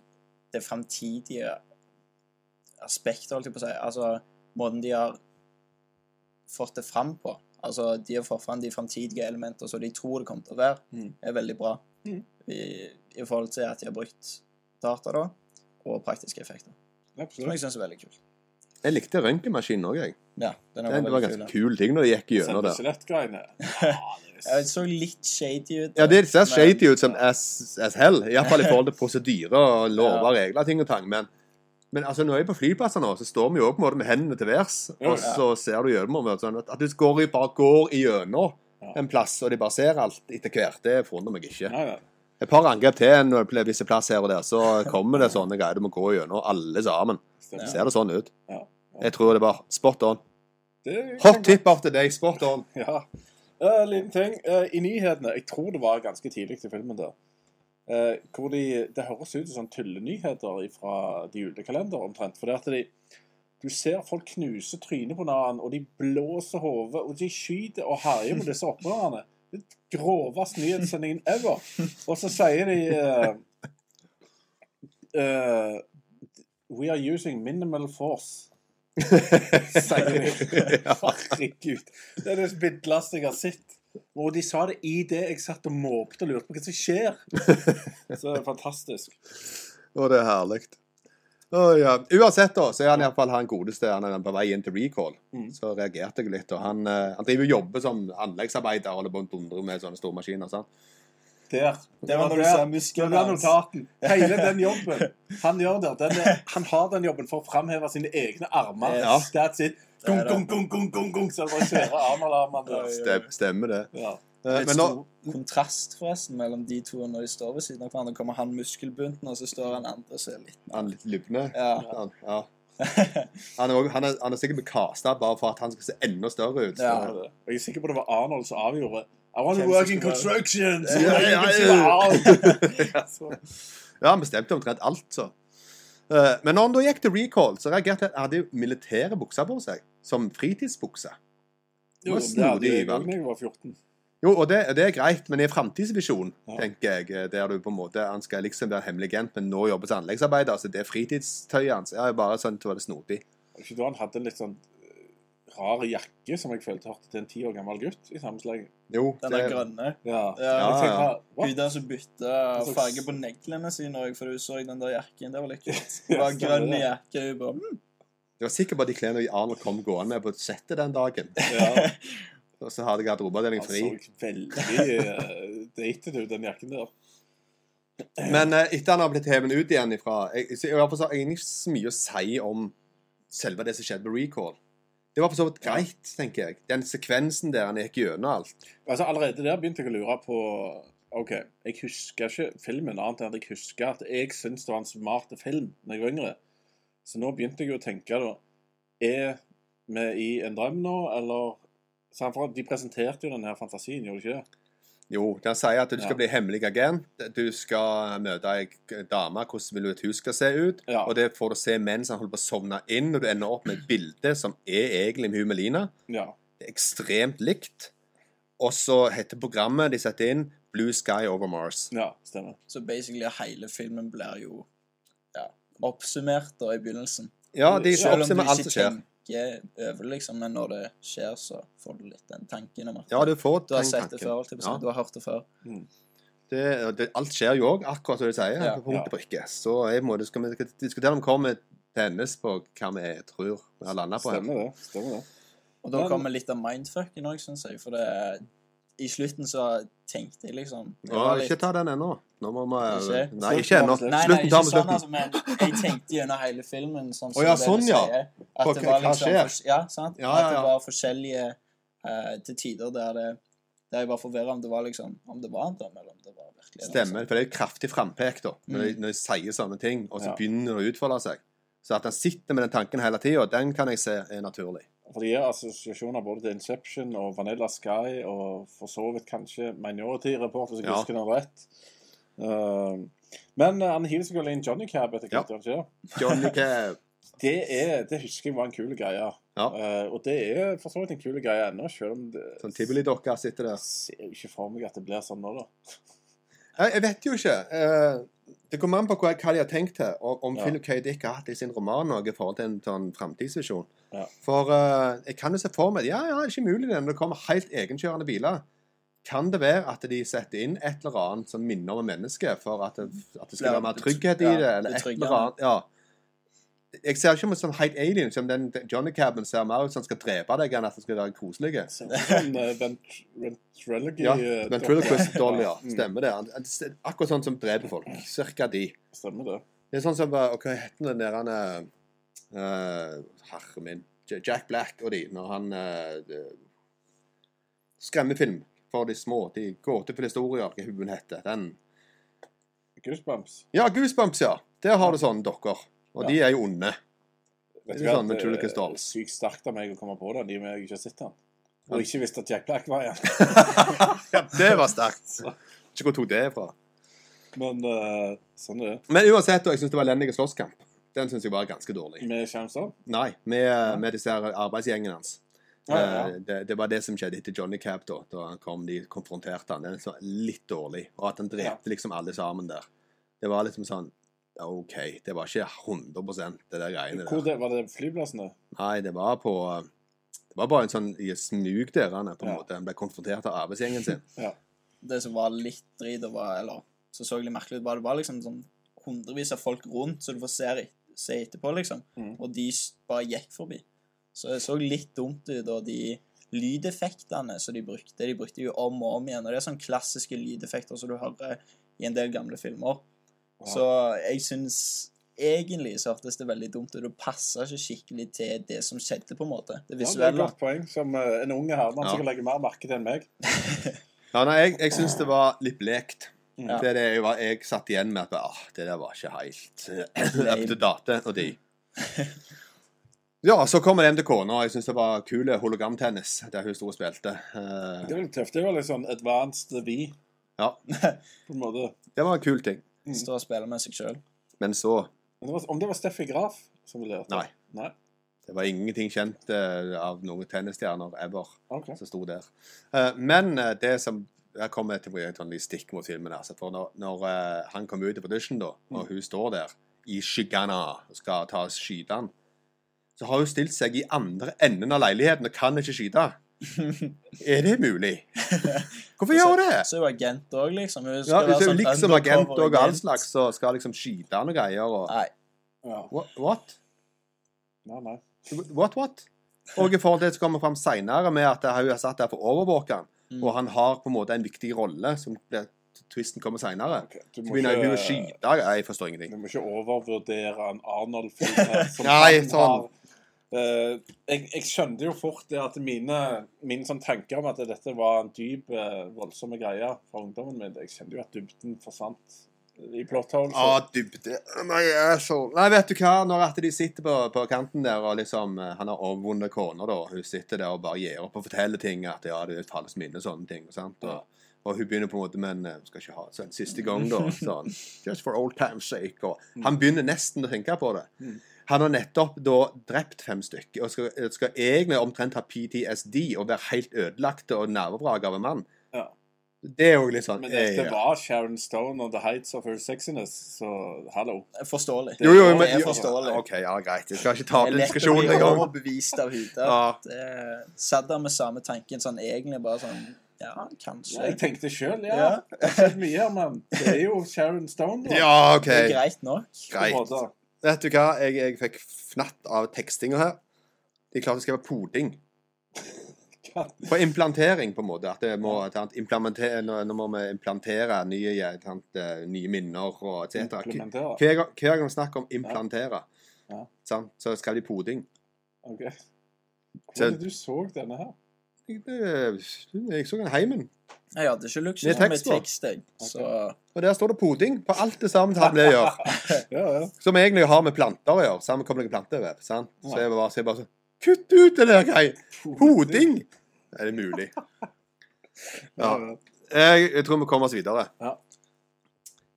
[SPEAKER 6] det framtidige aspektet, holdt jeg på å si, altså måten de har fått det fram på Altså, de har fått fram de framtidige elementer som de tror det kommer til å være,
[SPEAKER 5] Mm.
[SPEAKER 6] er veldig bra.
[SPEAKER 5] Mm.
[SPEAKER 6] I, I forhold til at de har brukt data, da, og praktiske effekter. Som
[SPEAKER 5] Absolutt.
[SPEAKER 6] jeg syns er veldig kult.
[SPEAKER 4] Jeg likte røntgenmaskinen òg, jeg.
[SPEAKER 6] Ja, den er
[SPEAKER 4] Det var
[SPEAKER 6] veldig
[SPEAKER 4] ganske
[SPEAKER 6] kul. ja.
[SPEAKER 4] kul ting når de gikk gjennom
[SPEAKER 5] Selve
[SPEAKER 4] der.
[SPEAKER 5] skjelettgreiene. Ja, det er-
[SPEAKER 6] Jeg så litt sånn, eh, shady ut.
[SPEAKER 4] Ja, det ser
[SPEAKER 6] men-
[SPEAKER 4] shady ut som as, as hell, iallfall i forhold til prosedyrer og lover og regler ting og tang. Men, men altså, når jeg er på flyplasser nå, så står vi jo på en måte med hendene til værs,
[SPEAKER 5] Ja,
[SPEAKER 4] og
[SPEAKER 6] ja.
[SPEAKER 4] så ser du gjennom og sånn at, at du går i, bare går igjennom
[SPEAKER 5] Ja.
[SPEAKER 4] en plass, og de bare ser alt etter hvert. Det forundrer meg ikke.
[SPEAKER 5] Nei, nei.
[SPEAKER 4] Et par angrep til en og på visse plass her og der, så kommer det sånne greier. Du må gå gjennom alle sammen.
[SPEAKER 5] Stemmer.
[SPEAKER 4] Ser det sånn ut?
[SPEAKER 5] Ja. Ja.
[SPEAKER 4] Jeg tror det var spot on.
[SPEAKER 5] Det kan
[SPEAKER 4] Hot tip off til deg, spot on.
[SPEAKER 5] Ja. Eh, liten ting. Eh, I nyhetene Jeg tror det var ganske tidlig i filmen der. eh, hvor de, Det høres ut som sånn tullenyheter fra de julekalender omtrent. For det at de Du ser folk knuse trynet på hverandre, og de blåser hodet, og de skyter og herjer på disse opprørerne. Det er groveste nyhetssendingen ever. Og så sier de eh, eh, We are using minimal force. Sier de. Herregud. Det er det vidleste jeg har sett. Og de sa det i det jeg satt og måpte og lurte på hva som skjer. Så det er fantastisk.
[SPEAKER 4] Og det er herlig. Å, ja. Uansett, da, så er han iallfall han godeste han er på vei inn til recall.
[SPEAKER 5] Mm.
[SPEAKER 4] Så reagerte jeg litt. Og han, eh, han driver og jobber som anleggsarbeider og holder på å dundre med sånne store maskiner. Sant?
[SPEAKER 5] Der.
[SPEAKER 6] Det var når du
[SPEAKER 5] der.
[SPEAKER 6] sa musklene
[SPEAKER 5] Det var
[SPEAKER 6] hans.
[SPEAKER 5] notaten. Hele den jobben han gjør der, den er, han har den jobben for å framheve sine egne armer.
[SPEAKER 4] Ja.
[SPEAKER 5] That's it.
[SPEAKER 6] Det er
[SPEAKER 5] Gung,
[SPEAKER 6] det.
[SPEAKER 5] gung, gung, gung, gung, gung. Så det var svære armalarmer der.
[SPEAKER 4] Stem, stemmer det.
[SPEAKER 5] Ja.
[SPEAKER 4] Eh,
[SPEAKER 6] Litt
[SPEAKER 4] Men nå,
[SPEAKER 6] stor kontrast forresten mellom de to når de står ved siden av hverandre. Kommer han muskelbunten, og så står han andre og ser litt
[SPEAKER 4] han litt lubne.
[SPEAKER 6] Ja.
[SPEAKER 4] Han, ja. Han er, også- han er, han er sikkert bekasta bare for at han skal se enda større ut.
[SPEAKER 6] Ja.
[SPEAKER 5] Og jeg er sikker på det var Arnold som avgjorde. I want
[SPEAKER 6] Hvem
[SPEAKER 5] to
[SPEAKER 6] som
[SPEAKER 5] work in
[SPEAKER 6] skulle være-
[SPEAKER 5] constructions!
[SPEAKER 4] Ja, ja, ja.
[SPEAKER 5] Så-
[SPEAKER 4] Ja, han bestemte omtrent alt, så. Eh, Men når han da gikk til recall, så reagerte jeg at han hadde jo militære bukser på seg. Som fritidsbukse. Det
[SPEAKER 5] Jo, det
[SPEAKER 4] var
[SPEAKER 5] hadde
[SPEAKER 4] snodig
[SPEAKER 5] jeg også
[SPEAKER 4] valg.
[SPEAKER 5] da jeg var 14.
[SPEAKER 4] Jo, og det, det er greit, men i en framtidsvisjon,
[SPEAKER 5] Ja.
[SPEAKER 4] tenker jeg, eh, der du på en måte Han skal liksom være hemmelig agent, men nå jobber som anleggsarbeider. Altså, det fritidstøyet hans er jo bare sånn til å være snodig.
[SPEAKER 5] Var det Ikke da han hadde en litt sånn eh, rar jakke som jeg følte hørte til en ti år gammel gutt i sammensleng.
[SPEAKER 4] Jo,
[SPEAKER 6] Den
[SPEAKER 4] det,
[SPEAKER 6] der grønne.
[SPEAKER 5] Ja.
[SPEAKER 6] Ja,
[SPEAKER 5] Jeg tenkte,
[SPEAKER 6] Hun
[SPEAKER 5] "What?"
[SPEAKER 6] der som bytta farge på neglene sine òg, for hun så den der jakken. Det var litt kult. Hun var
[SPEAKER 5] stemmer
[SPEAKER 6] grønn i
[SPEAKER 5] det.
[SPEAKER 6] jakke. Hun bare mm.
[SPEAKER 4] det var sikkert bare de klærne Arnold kom gående med på settet den dagen.
[SPEAKER 5] Ja.
[SPEAKER 4] Og så hadde garderobeavdelingen
[SPEAKER 5] Han
[SPEAKER 4] fri.
[SPEAKER 5] så veldig eh, dated ut, den jakken der.
[SPEAKER 4] Men eh, etter han har blitt hevet ut igjen ifra Jeg, jeg, jeg, har for så- jeg har ikke så mye å si om selve det som skjedde med Recall. Det var for så vidt greit, tenker jeg. Den sekvensen der han gikk gjennom alt.
[SPEAKER 5] Altså, allerede der begynte jeg å lure på OK, jeg husker ikke filmen annet enn at jeg husker at jeg syntes det var en smart film da jeg var yngre. Så nå begynte jeg jo å tenke, da Er vi i en drøm nå, eller Så han- for De presenterte jo den her fantasien, gjorde de ikke det?
[SPEAKER 4] Jo, der sier at du skal
[SPEAKER 5] Ja.
[SPEAKER 4] bli hemmelig agent. Du skal møte ei dame. Hvordan vil du et hus skal se ut?
[SPEAKER 5] Ja.
[SPEAKER 4] Og det får du se mens han holder på å sovne inn, og du ender opp med et bilde som er egentlig med hun Melina.
[SPEAKER 5] Ja.
[SPEAKER 4] Det er ekstremt likt. Og så heter programmet de setter inn, Blue Sky Over Mars.
[SPEAKER 5] ja stemmer.
[SPEAKER 6] Så basically hele filmen blir jo ja, oppsummert da i begynnelsen.
[SPEAKER 4] Ja, de
[SPEAKER 5] Selv om
[SPEAKER 4] oppsummerer alt som skjer.
[SPEAKER 6] tenker over, liksom, men når det skjer, så får du litt den tanken om at
[SPEAKER 4] Ja, du får
[SPEAKER 6] du har
[SPEAKER 4] den
[SPEAKER 6] sett det
[SPEAKER 4] tanken.
[SPEAKER 6] før. Typ,
[SPEAKER 4] Ja.
[SPEAKER 6] Du har hørt det før.
[SPEAKER 4] det, det, alt skjer jo òg, akkurat som du sier.
[SPEAKER 6] Ja,
[SPEAKER 4] på punkt
[SPEAKER 5] ja.
[SPEAKER 4] og prikke. Så jeg må, skal vi skal diskutere om vi kommer til endes på hva vi tror vi har landa på. her.
[SPEAKER 5] Stemmer det. stemmer det.
[SPEAKER 6] Og da
[SPEAKER 5] Men-
[SPEAKER 6] kommer litt av mindfucken òg, syns jeg. For det, i slutten så tenkte jeg liksom det
[SPEAKER 4] Ja,
[SPEAKER 6] var
[SPEAKER 4] ikke ta den ennå. Nå må vi
[SPEAKER 6] Ikke?
[SPEAKER 4] Nei, ikke ennå.
[SPEAKER 5] Slutten,
[SPEAKER 6] Nei, nei,
[SPEAKER 4] Slutten
[SPEAKER 6] ikke
[SPEAKER 4] tar vi
[SPEAKER 6] sånn,
[SPEAKER 4] slutten.
[SPEAKER 6] altså, men jeg tenkte gjennom hele filmen sånn som
[SPEAKER 4] Å ja,
[SPEAKER 6] det du
[SPEAKER 4] sånn, ja.
[SPEAKER 6] sier. At
[SPEAKER 4] Hva-
[SPEAKER 6] det var
[SPEAKER 4] hva
[SPEAKER 6] liksom
[SPEAKER 4] skjer?
[SPEAKER 6] fors- Ja, sant?
[SPEAKER 4] Ja, ja,
[SPEAKER 6] At det
[SPEAKER 4] ja.
[SPEAKER 6] var forskjellige eh, Til tider der det Der jeg var forvirra om det var liksom Om det var en drøm, eller om det var virkelig eller noe
[SPEAKER 4] Stemmer. For det er jo kraftig frampek da, når, de,
[SPEAKER 6] Mm.
[SPEAKER 4] når de sier sånne ting, og så
[SPEAKER 5] Ja.
[SPEAKER 4] begynner det å utfolde seg. Så at han sitter med den tanken hele tida, den kan jeg se er naturlig.
[SPEAKER 5] For det gir assosiasjoner både til Inception og Vanilla Sky og for så vidt kanskje Minority Report, hvis jeg
[SPEAKER 4] Ja.
[SPEAKER 5] husker den rett. Ehm, men eh, han hiver seg vel inn Johnny Cab etter
[SPEAKER 4] Ja.
[SPEAKER 5] hvert, gjør han ikke det?
[SPEAKER 4] Johnny Cab.
[SPEAKER 5] Det, er, det husker jeg var en kul greie.
[SPEAKER 4] Ja.
[SPEAKER 5] Eh, og det er for så vidt en kul greie ennå, selv om det
[SPEAKER 4] Sånn tivolidokke sitter der.
[SPEAKER 5] ser jo ikke for meg at det blir sånn nå, da.
[SPEAKER 4] Jeg, jeg vet jo ikke. eh, det kommer an på hva, hva de har tenkt her. Og om
[SPEAKER 5] Ja.
[SPEAKER 4] Philip K. Dick har hatt i sin roman noe i forhold til en sånn framtidsvisjon.
[SPEAKER 5] Ja.
[SPEAKER 4] For eh, jeg kan jo se for meg Ja, ja, det er ikke mulig det når det kommer helt egenkjørende biler. Kan det være at de setter inn et eller annet som minner om et menneske, for at det, at det skal
[SPEAKER 6] Ja,
[SPEAKER 4] være mer
[SPEAKER 6] det-
[SPEAKER 4] trygghet i
[SPEAKER 6] ja,
[SPEAKER 4] det? Eller
[SPEAKER 6] det
[SPEAKER 4] et
[SPEAKER 6] trygge,
[SPEAKER 4] eller annet. Ja. Jeg ser ikke om en sånn helt alien som den den Johnny Caben ser mer ut som han skal drepe deg, enn at han skal være koselig.
[SPEAKER 5] Ser ut som en eh, vent- ventriloquy
[SPEAKER 4] Ja,
[SPEAKER 5] eh,
[SPEAKER 4] Ventriloquist Doll, ja.
[SPEAKER 5] Mm,
[SPEAKER 4] Stemmer det. Han- han- Akkurat sånn som dreper folk. Cirka de.
[SPEAKER 5] Stemmer det.
[SPEAKER 4] Det er sånn som bare, Hva heter den der han eh, Herre min. J- Jack Black og de, når han eh, det- Skremmefilm for de små. De gåtefulle historier, hva hun heter. Den.
[SPEAKER 5] Goosebumps.
[SPEAKER 4] Ja, Goosebumps, ja. Der har du sånne dokker. Og de er jo onde.
[SPEAKER 5] Vet
[SPEAKER 4] Det
[SPEAKER 5] du
[SPEAKER 4] er
[SPEAKER 5] hva,
[SPEAKER 4] sånn
[SPEAKER 5] det er
[SPEAKER 4] Ventriloquist Dolls.
[SPEAKER 5] Sykt sterkt av meg å komme på den, i og med at jeg ikke har sett den. Og ikke visste at Jack Black var igjen.
[SPEAKER 4] Ja, det var sterkt. Ikke hvor jeg tok det fra.
[SPEAKER 5] Men eh, sånn er det.
[SPEAKER 4] Men uansett, og jeg syns det var elendig slåsskamp. Den syns jeg var ganske dårlig.
[SPEAKER 5] Vi kommer sånn.
[SPEAKER 4] Nei, med, med disse her arbeidsgjengene hans.
[SPEAKER 5] Ja, ja, ja.
[SPEAKER 4] Eh, Det, det var det som skjedde etter Johnny Cab, da, da han kom, de konfronterte han. Den var litt dårlig, og at han drepte liksom alle sammen der. Det var liksom sånn ja, OK, det var ikke 100 det der greiene
[SPEAKER 5] Hvor
[SPEAKER 4] der.
[SPEAKER 5] det, var det flyplassene?
[SPEAKER 4] Nei, det var på eh, Det var bare en sånn i et smug der han er, på en
[SPEAKER 5] Ja.
[SPEAKER 4] måte. Han ble konfrontert av arbeidsgjengen sin.
[SPEAKER 6] sånt. Det som var litt drit, og var, eller så så litt merkelig ut, var det var liksom sånn hundrevis av folk rundt, så du får se, se etterpå, liksom.
[SPEAKER 5] Mhm.
[SPEAKER 6] Og de s- bare gikk forbi. Så det så litt dumt ut, og de lydeffektene som de brukte, de brukte jo om og om igjen. Og det er sånne klassiske lydeffekter som du hører i en del gamle filmer.
[SPEAKER 5] Ja.
[SPEAKER 6] Så jeg syns egentlig så hørtes det veldig dumt ut. Det passa ikke skikkelig til det som skjedde, på en måte.
[SPEAKER 5] Ja, det
[SPEAKER 6] Det
[SPEAKER 5] er et
[SPEAKER 6] visuelle.
[SPEAKER 5] godt poeng, som eh, en unge herremann
[SPEAKER 4] Ja.
[SPEAKER 5] som kan legge mer merke til enn meg.
[SPEAKER 4] Ja, nei, jeg, jeg syns det var litt blekt.
[SPEAKER 5] Ja.
[SPEAKER 4] Mm. Det er det jeg, var, jeg satt igjen med at ah, det der var ikke helt eh, up to date. Og de. Ja, så kommer MDK nå. Jeg syns det var kule hologramtennis der hun sto og spilte. Eh,
[SPEAKER 5] Det var litt tøft. Det var litt sånn advanced vi,
[SPEAKER 4] ja,
[SPEAKER 5] på en måte.
[SPEAKER 4] det var en kul ting.
[SPEAKER 6] Står og spiller med seg sjøl.
[SPEAKER 4] Men så
[SPEAKER 5] Men det var, om det var Steffi Graf som vi lærte?
[SPEAKER 4] Nei.
[SPEAKER 5] Nei?
[SPEAKER 4] Det var ingenting kjent eh, av noen tennisstjerner ever
[SPEAKER 5] Ok.
[SPEAKER 4] som sto der. Eh, men eh, det som Jeg kommer til å gjøre et sånn litt stikk mot filmen. Altså, for når, når eh, han kommer ut i audition, da,
[SPEAKER 6] Mm.
[SPEAKER 4] og hun står der i skyggene og skal ta og skyte han, så har hun stilt seg i andre enden av leiligheten og kan ikke skyte. Er det mulig? Hvorfor gjør hun det?
[SPEAKER 6] Altså, Så er hun agent òg, liksom. Hun
[SPEAKER 4] Ja,
[SPEAKER 6] skal
[SPEAKER 4] hvis
[SPEAKER 6] være
[SPEAKER 4] hun
[SPEAKER 6] sånn
[SPEAKER 4] liksom agent
[SPEAKER 6] undercover
[SPEAKER 4] og all slags, så skal liksom skyte han og greier og
[SPEAKER 6] Nei.
[SPEAKER 5] Ja.
[SPEAKER 4] Wha- What?
[SPEAKER 5] Nei, nei.
[SPEAKER 4] What, what? Og i forhold til det som kommer fram seinere, med at hun er satt der for å overvåke han,
[SPEAKER 6] Mm.
[SPEAKER 4] og han har på en måte en viktig rolle, som blir twisten kommer seinere,
[SPEAKER 5] Ok, Du
[SPEAKER 4] så
[SPEAKER 5] må
[SPEAKER 4] begynner hun
[SPEAKER 5] ikke,
[SPEAKER 4] å skyte. Nei, Jeg
[SPEAKER 5] du
[SPEAKER 4] forstår ingenting.
[SPEAKER 5] må ikke overvurdere en Arnold-film her. som
[SPEAKER 4] Nei,
[SPEAKER 5] han
[SPEAKER 4] sånn.
[SPEAKER 5] har. Eh, jeg, jeg skjønte jo fort det at mine, mine sånn tanker om at dette var en dyp, eh, voldsomme greie for ungdommen min Jeg kjente jo at dybden forsvant i plot holes.
[SPEAKER 4] Å, dybde. Nei, jeg er så- Nei, vet du hva, når at de sitter på, på kanten der, og liksom eh, Han har overvunnet kona, da. Hun sitter der og bare gir opp og forteller ting, at ja, det er et falskt minne, sånne ting. sant? Og, og hun begynner på en måte Men eh, skal ikke ha det sånn siste gang, da. Sånn. Just for old time's sake. Og han begynner nesten å tenke på det.
[SPEAKER 5] Mm.
[SPEAKER 4] Han har nettopp da drept fem stykker, og skal, skal egentlig omtrent ha PTSD og være helt ødelagt og nervevrak av en mann.
[SPEAKER 5] Ja.
[SPEAKER 4] Det er jo litt sånn
[SPEAKER 5] Men dette
[SPEAKER 4] eh,
[SPEAKER 5] var Sharon Stone on the heights of her sexiness, så hallo.
[SPEAKER 6] Forståelig.
[SPEAKER 4] Jo, jo, men,
[SPEAKER 6] det er forståelig.
[SPEAKER 4] OK, ja, greit. Jeg skal ikke
[SPEAKER 6] Det
[SPEAKER 4] ta opp
[SPEAKER 6] er
[SPEAKER 4] den
[SPEAKER 6] lett å
[SPEAKER 4] diskusjonen
[SPEAKER 6] bli
[SPEAKER 4] engang.
[SPEAKER 6] overbevist av hudet.
[SPEAKER 4] Ja.
[SPEAKER 6] Det- Saddam med samme tanken, sånn egentlig bare sånn Ja, kanskje.
[SPEAKER 5] Ja, jeg tenkte sjøl, ja.
[SPEAKER 6] Ja.
[SPEAKER 5] Det er ikke mye, men det er jo Sharon Stone, da.
[SPEAKER 4] ja, OK.
[SPEAKER 6] Det er greit nok.
[SPEAKER 5] på en måte.
[SPEAKER 4] Greit. Vet du hva, jeg, jeg fikk fnatt av tekstinga her. De klarte å skrive poding. På implantering, på en måte. At det må, at han implemente- nå, nå må vi implantere nye, eh, sant, eh, nye minner og etc.
[SPEAKER 5] Implementere.
[SPEAKER 4] Hver gang- hver gang vi snakker om implantere,
[SPEAKER 5] Ja. Ja.
[SPEAKER 4] sant, så skrev de poding.
[SPEAKER 5] Ok.
[SPEAKER 4] Så-
[SPEAKER 5] Hvor er det du så denne her?
[SPEAKER 4] Det- eh, Jeg så en heimen,
[SPEAKER 6] Jeg hadde ikke luksus
[SPEAKER 4] Det er
[SPEAKER 6] med
[SPEAKER 4] tekst, da.
[SPEAKER 6] tekst, jeg. Så
[SPEAKER 4] og der står det poding på alt det samme tablet jeg gjør.
[SPEAKER 5] Ja, ja.
[SPEAKER 4] Som egentlig har med planter å gjøre. Sammenkobling av plantevev. sant? Så
[SPEAKER 5] Ja.
[SPEAKER 4] jeg bare, så jeg bare sånn Kutt ut det der greia! Hoding! Er det mulig? Ja. Jeg, jeg tror vi kommer oss videre.
[SPEAKER 5] Ja.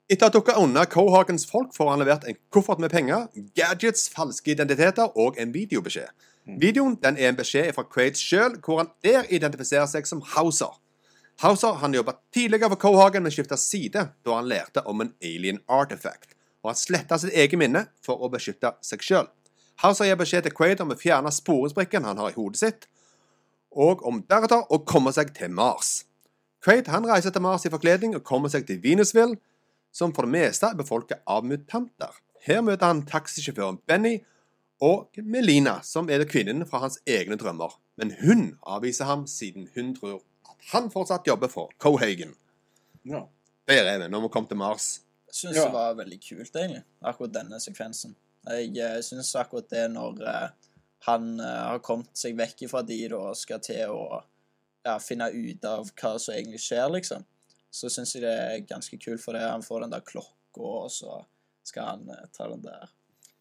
[SPEAKER 4] Etter å ha dukket unna Cohagens folk får han levert en koffert med penger, gadgets, falske identiteter og en videobeskjed. Videoen den er en beskjed fra Quaid sjøl, hvor han der identifiserer seg som Hauser. Hauser han jobba tidligere for Cohagen, men skifta side da han lærte om en alien artifact. Og han sletta sitt eget minne for å beskytte seg sjøl. Hauser gir beskjed til Quaid om å fjerne sporesprikken han har i hodet sitt, og om deretter å komme seg til Mars. Quaid han reiser til Mars i forkledning og kommer seg til Venusville, som for det meste er befolket av mutanter. Her møter han taxisjåføren Benny og Melina, som er kvinnen fra hans egne drømmer. Men hun avviser ham siden hun tror at han fortsatt jobber for Cohagen.
[SPEAKER 5] ja.
[SPEAKER 4] Der er vi, når vi kom til Mars.
[SPEAKER 6] jeg syns
[SPEAKER 5] Ja.
[SPEAKER 6] det var veldig kult, egentlig. Akkurat denne sekvensen. Jeg uh, syns akkurat det når eh, han eh, har kommet seg vekk ifra de da, og skal til å ja, finne ut av hva som egentlig skjer, liksom, så syns jeg det er ganske kult, for det han får den der klokka, og så skal han eh, ta den der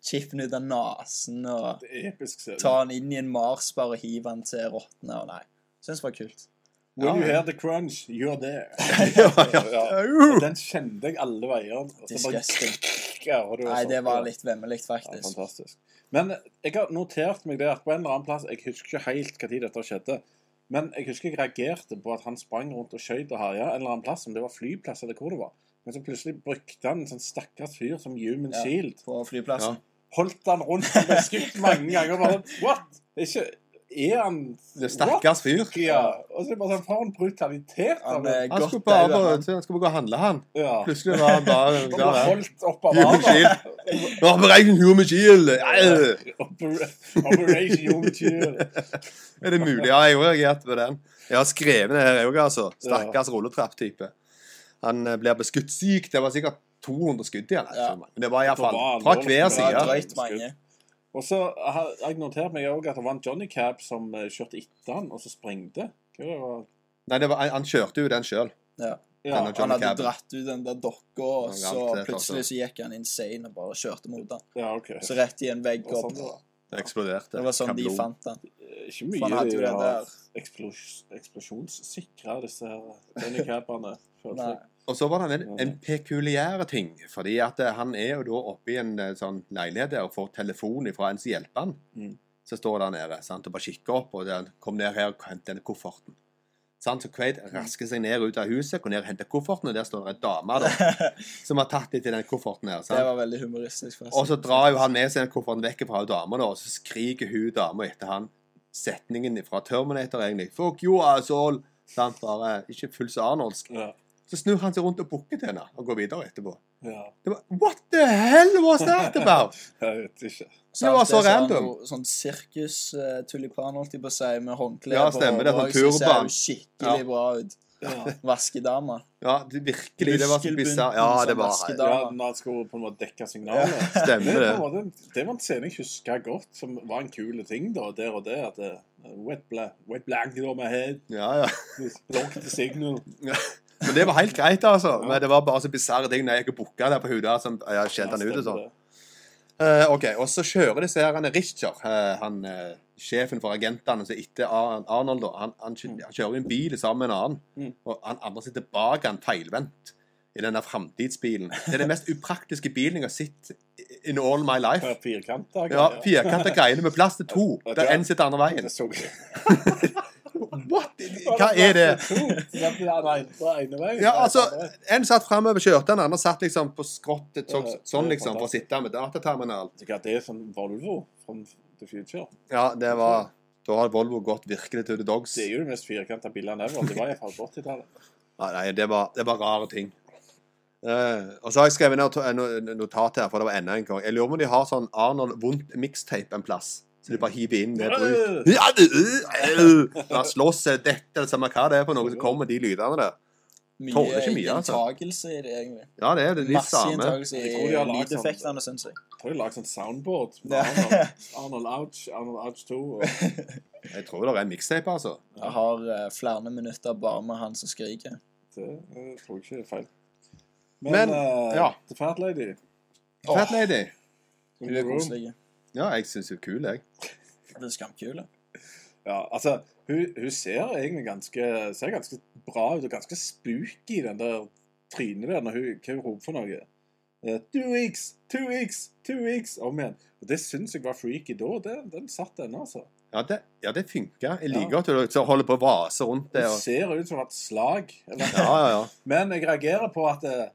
[SPEAKER 6] chipen ut av nesen og
[SPEAKER 5] Det er episk scene.
[SPEAKER 6] ta den inn i en marsbar og hive den til rottene, og nei. Syns det var kult.
[SPEAKER 5] When
[SPEAKER 4] Ja,
[SPEAKER 5] you
[SPEAKER 4] ja.
[SPEAKER 5] hear the crunch, you're there.
[SPEAKER 4] ja,
[SPEAKER 5] Ja.
[SPEAKER 4] Uh!
[SPEAKER 5] Den kjente jeg alle veier. og så bare
[SPEAKER 6] Disgusting.
[SPEAKER 5] gærer du og
[SPEAKER 6] Nei,
[SPEAKER 5] sånt.
[SPEAKER 6] det var litt vemmelig,
[SPEAKER 5] ja,
[SPEAKER 6] faktisk.
[SPEAKER 5] Fantastisk. Men jeg har notert meg det at på en eller annen plass Jeg husker ikke helt når dette skjedde. Men jeg husker jeg reagerte på at han sprang rundt og skøyt og herja en eller annen plass, om det var flyplass eller hvor det var. Men så plutselig brukte han en sånn stakkars fyr som human
[SPEAKER 6] Ja.
[SPEAKER 5] shield.
[SPEAKER 6] På flyplassen.
[SPEAKER 5] Holdt han rundt og ble skutt mange ganger. Bare, sånn, What?! Det Er ikke Er han
[SPEAKER 4] Det er Stakkars fyr.
[SPEAKER 5] What? Ja. Og så er det bare sånn For en brutalitet!
[SPEAKER 6] Han
[SPEAKER 5] av det.
[SPEAKER 6] er
[SPEAKER 4] Han
[SPEAKER 6] godt
[SPEAKER 4] skulle bare,
[SPEAKER 6] daua, han.
[SPEAKER 4] han skulle bare gå og handle, han.
[SPEAKER 5] Ja.
[SPEAKER 4] Plutselig var han bare
[SPEAKER 5] Han ble
[SPEAKER 4] der.
[SPEAKER 5] holdt opp av
[SPEAKER 4] Human
[SPEAKER 5] armen.
[SPEAKER 4] Shield. Nå har vi regnet Human Shield! Ja,
[SPEAKER 5] Oper- Operation Young Chill.
[SPEAKER 4] Er det mulig? Ja, jeg har reagert på den. Jeg har skrevet det her, jeg òg, altså. Stakkars rulletrapp-type. Han eh, blir beskutt syk. Det var sikkert 200 skudd i han.
[SPEAKER 6] Ja.
[SPEAKER 4] Men Det var
[SPEAKER 5] Det
[SPEAKER 4] iallfall
[SPEAKER 5] var
[SPEAKER 4] fra
[SPEAKER 5] alvorlig.
[SPEAKER 4] hver
[SPEAKER 6] Det var
[SPEAKER 5] Ja.
[SPEAKER 4] side.
[SPEAKER 6] drøyt mange.
[SPEAKER 5] Og så har jeg notert meg også at det var en Johnny Cab som eh, kjørte etter han, og så sprengte. Hva det var?
[SPEAKER 4] Nei, det var, han- han kjørte jo den sjøl.
[SPEAKER 6] Ja.
[SPEAKER 5] Ja,
[SPEAKER 4] Denne
[SPEAKER 6] Han
[SPEAKER 4] Johnny
[SPEAKER 6] hadde
[SPEAKER 4] Cab.
[SPEAKER 6] dratt ut den der dokka, og
[SPEAKER 4] Han galt
[SPEAKER 6] så
[SPEAKER 4] det,
[SPEAKER 6] plutselig
[SPEAKER 4] altså.
[SPEAKER 6] så gikk han insane og bare kjørte mot han.
[SPEAKER 5] ja ok.
[SPEAKER 6] Så rett i en vegg
[SPEAKER 5] Og
[SPEAKER 6] og
[SPEAKER 5] sånn det var.
[SPEAKER 4] Det eksploderte.
[SPEAKER 6] Det var sånn de
[SPEAKER 4] Kabloo.
[SPEAKER 6] fant den.
[SPEAKER 5] Eh, Ikke
[SPEAKER 6] For han
[SPEAKER 5] mye
[SPEAKER 6] hadde jo
[SPEAKER 5] de
[SPEAKER 6] det
[SPEAKER 5] har
[SPEAKER 6] der.
[SPEAKER 5] eksplos- eksplosjonssikra, disse her denikabene.
[SPEAKER 6] Nei.
[SPEAKER 4] Og så var det en, en pekuliær ting, fordi at eh, han er jo da oppe i en eh, sånn leilighet der og får telefon fra en som hjelper han.
[SPEAKER 5] Mm.
[SPEAKER 4] Så står der nede sant, og bare kikker opp, og den kom ned her og hentet denne kofferten. Sant, så Quaid rasker seg ned ut av huset, går ned og henter kofferten, og der står det en dame da,
[SPEAKER 6] det
[SPEAKER 4] som har tatt litt i den kofferten her. Sant?
[SPEAKER 6] var veldig humoristisk. forresten.
[SPEAKER 4] Og så drar jo han med seg den kofferten vekk fra dama, da, og så skriker hun dama etter han setningen fra Terminator, egentlig. Fuck you, asshole! Sant, bare ikke full så arnoldsk.
[SPEAKER 5] Ja.
[SPEAKER 4] Så snur han seg rundt og bukker til henne, og går videre etterpå.
[SPEAKER 5] ja.
[SPEAKER 4] Det var, What the hell was that about?
[SPEAKER 5] Jeg vet ikke.
[SPEAKER 4] Det var
[SPEAKER 6] alt
[SPEAKER 4] så
[SPEAKER 6] er sånn-
[SPEAKER 4] random.
[SPEAKER 6] Sånn sirkus-tulipan, holdt jeg på å si, med håndkle
[SPEAKER 4] Ja,
[SPEAKER 6] på
[SPEAKER 4] stemmer det,
[SPEAKER 6] hodet,
[SPEAKER 4] sånn
[SPEAKER 6] så ser
[SPEAKER 4] turban.
[SPEAKER 6] hun skikkelig
[SPEAKER 4] Ja.
[SPEAKER 6] bra ut.
[SPEAKER 5] Ja.
[SPEAKER 6] Vaskedama.
[SPEAKER 4] Ja, det, virkelig. Det var så
[SPEAKER 6] Muskelbunten
[SPEAKER 4] bisarr. Ja,
[SPEAKER 6] som
[SPEAKER 4] det var
[SPEAKER 6] vaskedame.
[SPEAKER 5] Ja, når han skulle på en måte dekke signalet.
[SPEAKER 4] Stemmer
[SPEAKER 5] det.
[SPEAKER 4] det.
[SPEAKER 5] på en måte- Det var en scene jeg husker godt, som var en kul ting da, der og der. At det, wet, bla, wet blanket on my head,
[SPEAKER 4] Ja, ja.
[SPEAKER 5] block the signal.
[SPEAKER 4] Men det var helt greit, altså. Men det var bare så bisarre ting når jeg gikk og bukka der på hodet, som jeg skjelte han ut og sånn. Eh, ok, og så kjører disse her, han er Richter, eh, han eh, sjefen for agentene, så etter Ar Arnold da, han, han, kjø- han kjører en bil sammen med en annen,
[SPEAKER 5] Mm.
[SPEAKER 4] og han andre sitter bak han feilvendt i denne fremtidsbilen. Det er den mest upraktiske bilen jeg har sett in all my life.
[SPEAKER 5] Firkanta
[SPEAKER 4] Ja,
[SPEAKER 5] greier.
[SPEAKER 4] firkanta greiene med plass til to, der en sitter andre veien.
[SPEAKER 5] Det så-
[SPEAKER 4] What? Hva er det?
[SPEAKER 5] Det ble han ene- på ene veien.
[SPEAKER 4] Ja, altså, en satt fremover kjørte, den andre satt liksom på skrottet, så, sånn liksom, for å sitte med dataterminal.
[SPEAKER 5] Så hva, Det er sånn Volvo from the future.
[SPEAKER 4] Ja, det var, da har Volvo gått virkelig til the dogs.
[SPEAKER 5] Det er jo det mest firkanta bildet ever. Det var iallfall på 80-tallet.
[SPEAKER 4] Nei, nei det, var, det var rare ting. Eh, og så har jeg skrevet ned et no- notat her, for det var enda en gang. Jeg lurer på om de har sånn Arnold Vondt mixtape en plass. Så de bare hiver inn med bruk. Ja, øh, øh, øh. Han slåss, eh, dette, eller samme hva det er for noe, så kommer de lydene der. Tåler
[SPEAKER 6] Mye
[SPEAKER 4] ikke mye, altså.
[SPEAKER 6] inntagelse i det, egentlig.
[SPEAKER 4] Ja, det er det de
[SPEAKER 6] Masse
[SPEAKER 4] samme.
[SPEAKER 6] inntagelse
[SPEAKER 5] Jeg tror de
[SPEAKER 6] i
[SPEAKER 5] har laget sånn-
[SPEAKER 6] lydeffektene, syns jeg.
[SPEAKER 5] Jeg tror jeg lagde sånn soundboard med
[SPEAKER 6] Ja.
[SPEAKER 5] Arnold. Arnold Ouch, Arnold Ouch 2. Og
[SPEAKER 4] Jeg tror det er en mixtape, altså.
[SPEAKER 6] Jeg har eh, flere minutter bare med han som skriker.
[SPEAKER 5] det eh, tror jeg ikke er feil.
[SPEAKER 4] Men,
[SPEAKER 5] Men, eh,
[SPEAKER 4] ja.
[SPEAKER 5] The Fat Lady
[SPEAKER 4] Fat Lady.
[SPEAKER 6] Hun er koselig.
[SPEAKER 4] Ja, jeg syns hun er kul, jeg.
[SPEAKER 6] Det er skamkul. da.
[SPEAKER 5] Ja, altså, hun, hun ser egentlig ganske, ser ganske bra ut og ganske spooky, den der trynet der, når hun, hva hun roper for noe. Eh, Two weeks, two weeks, two weeks, om igjen. Og det syns jeg var freaky da. Det, den satt ennå, altså.
[SPEAKER 4] Ja, det, ja, det funker. Jeg
[SPEAKER 5] Ja.
[SPEAKER 4] liker at hun så holder på å vase rundt det.
[SPEAKER 5] Hun
[SPEAKER 4] Og,
[SPEAKER 5] ser ut som et slag. Eller,
[SPEAKER 4] ja, ja, ja.
[SPEAKER 5] Men jeg reagerer på at eh,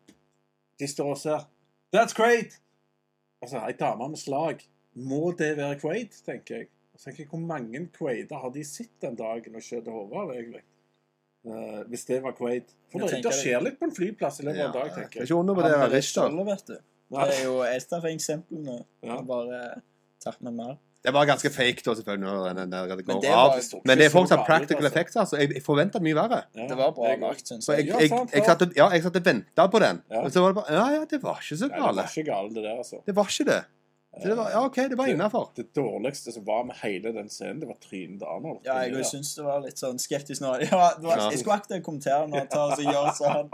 [SPEAKER 5] de står og ser That's great! Altså, ei dame med slag. Må det være Quaid, tenker jeg. Og så tenker jeg, Hvor mange Quaider har de sett den dagen og skjøt hodet av, egentlig? Eh, hvis det var Quaid. For
[SPEAKER 6] Jeg
[SPEAKER 5] det,
[SPEAKER 6] tenker
[SPEAKER 5] det
[SPEAKER 6] det.
[SPEAKER 5] skjer litt på en flyplass i løpet
[SPEAKER 4] ja
[SPEAKER 5] av en dag,
[SPEAKER 4] jeg
[SPEAKER 5] tenker
[SPEAKER 4] skal
[SPEAKER 5] jeg.
[SPEAKER 4] ikke undervurdere
[SPEAKER 6] Han er
[SPEAKER 4] Richter.
[SPEAKER 6] skjold, vet du.
[SPEAKER 5] Ja,
[SPEAKER 6] Det er jo et av eksemplene.
[SPEAKER 5] Ja.
[SPEAKER 6] Jeg Bare eh, tatt med mer.
[SPEAKER 4] Det var ganske fake, da, selvfølgelig. Når den, den, den går
[SPEAKER 6] Men det
[SPEAKER 4] av.
[SPEAKER 6] var-
[SPEAKER 4] Men det er
[SPEAKER 5] så
[SPEAKER 4] fortsatt
[SPEAKER 5] vanlig,
[SPEAKER 4] practical
[SPEAKER 5] altså.
[SPEAKER 4] effects, altså. Jeg, jeg forventa mye verre.
[SPEAKER 5] Ja,
[SPEAKER 6] Det var bra
[SPEAKER 5] jeg-
[SPEAKER 6] lagt, syns
[SPEAKER 4] Så
[SPEAKER 6] jeg.
[SPEAKER 4] jeg,
[SPEAKER 5] Ja,
[SPEAKER 4] jeg, jeg,
[SPEAKER 5] sant, sant.
[SPEAKER 4] satt og- ja, jeg satt og venta på den.
[SPEAKER 5] Ja.
[SPEAKER 4] Og så var det bare Ja, ja, det var ikke så
[SPEAKER 5] Nei, det var
[SPEAKER 4] galt.
[SPEAKER 5] ikke galt, det der, altså.
[SPEAKER 4] Det var ikke det. Så det var, ja, OK, det var
[SPEAKER 5] Det-
[SPEAKER 4] innafor.
[SPEAKER 5] Det dårligste som var med hele den scenen, det var trynet til Arnold.
[SPEAKER 6] Ja, jeg
[SPEAKER 5] Det
[SPEAKER 6] òg
[SPEAKER 5] der.
[SPEAKER 6] syns det var litt sånn skeptisk nå. Ja, det var,
[SPEAKER 4] Ja.
[SPEAKER 6] jeg skulle akkurat kommentere når han tar og så gjør sånn.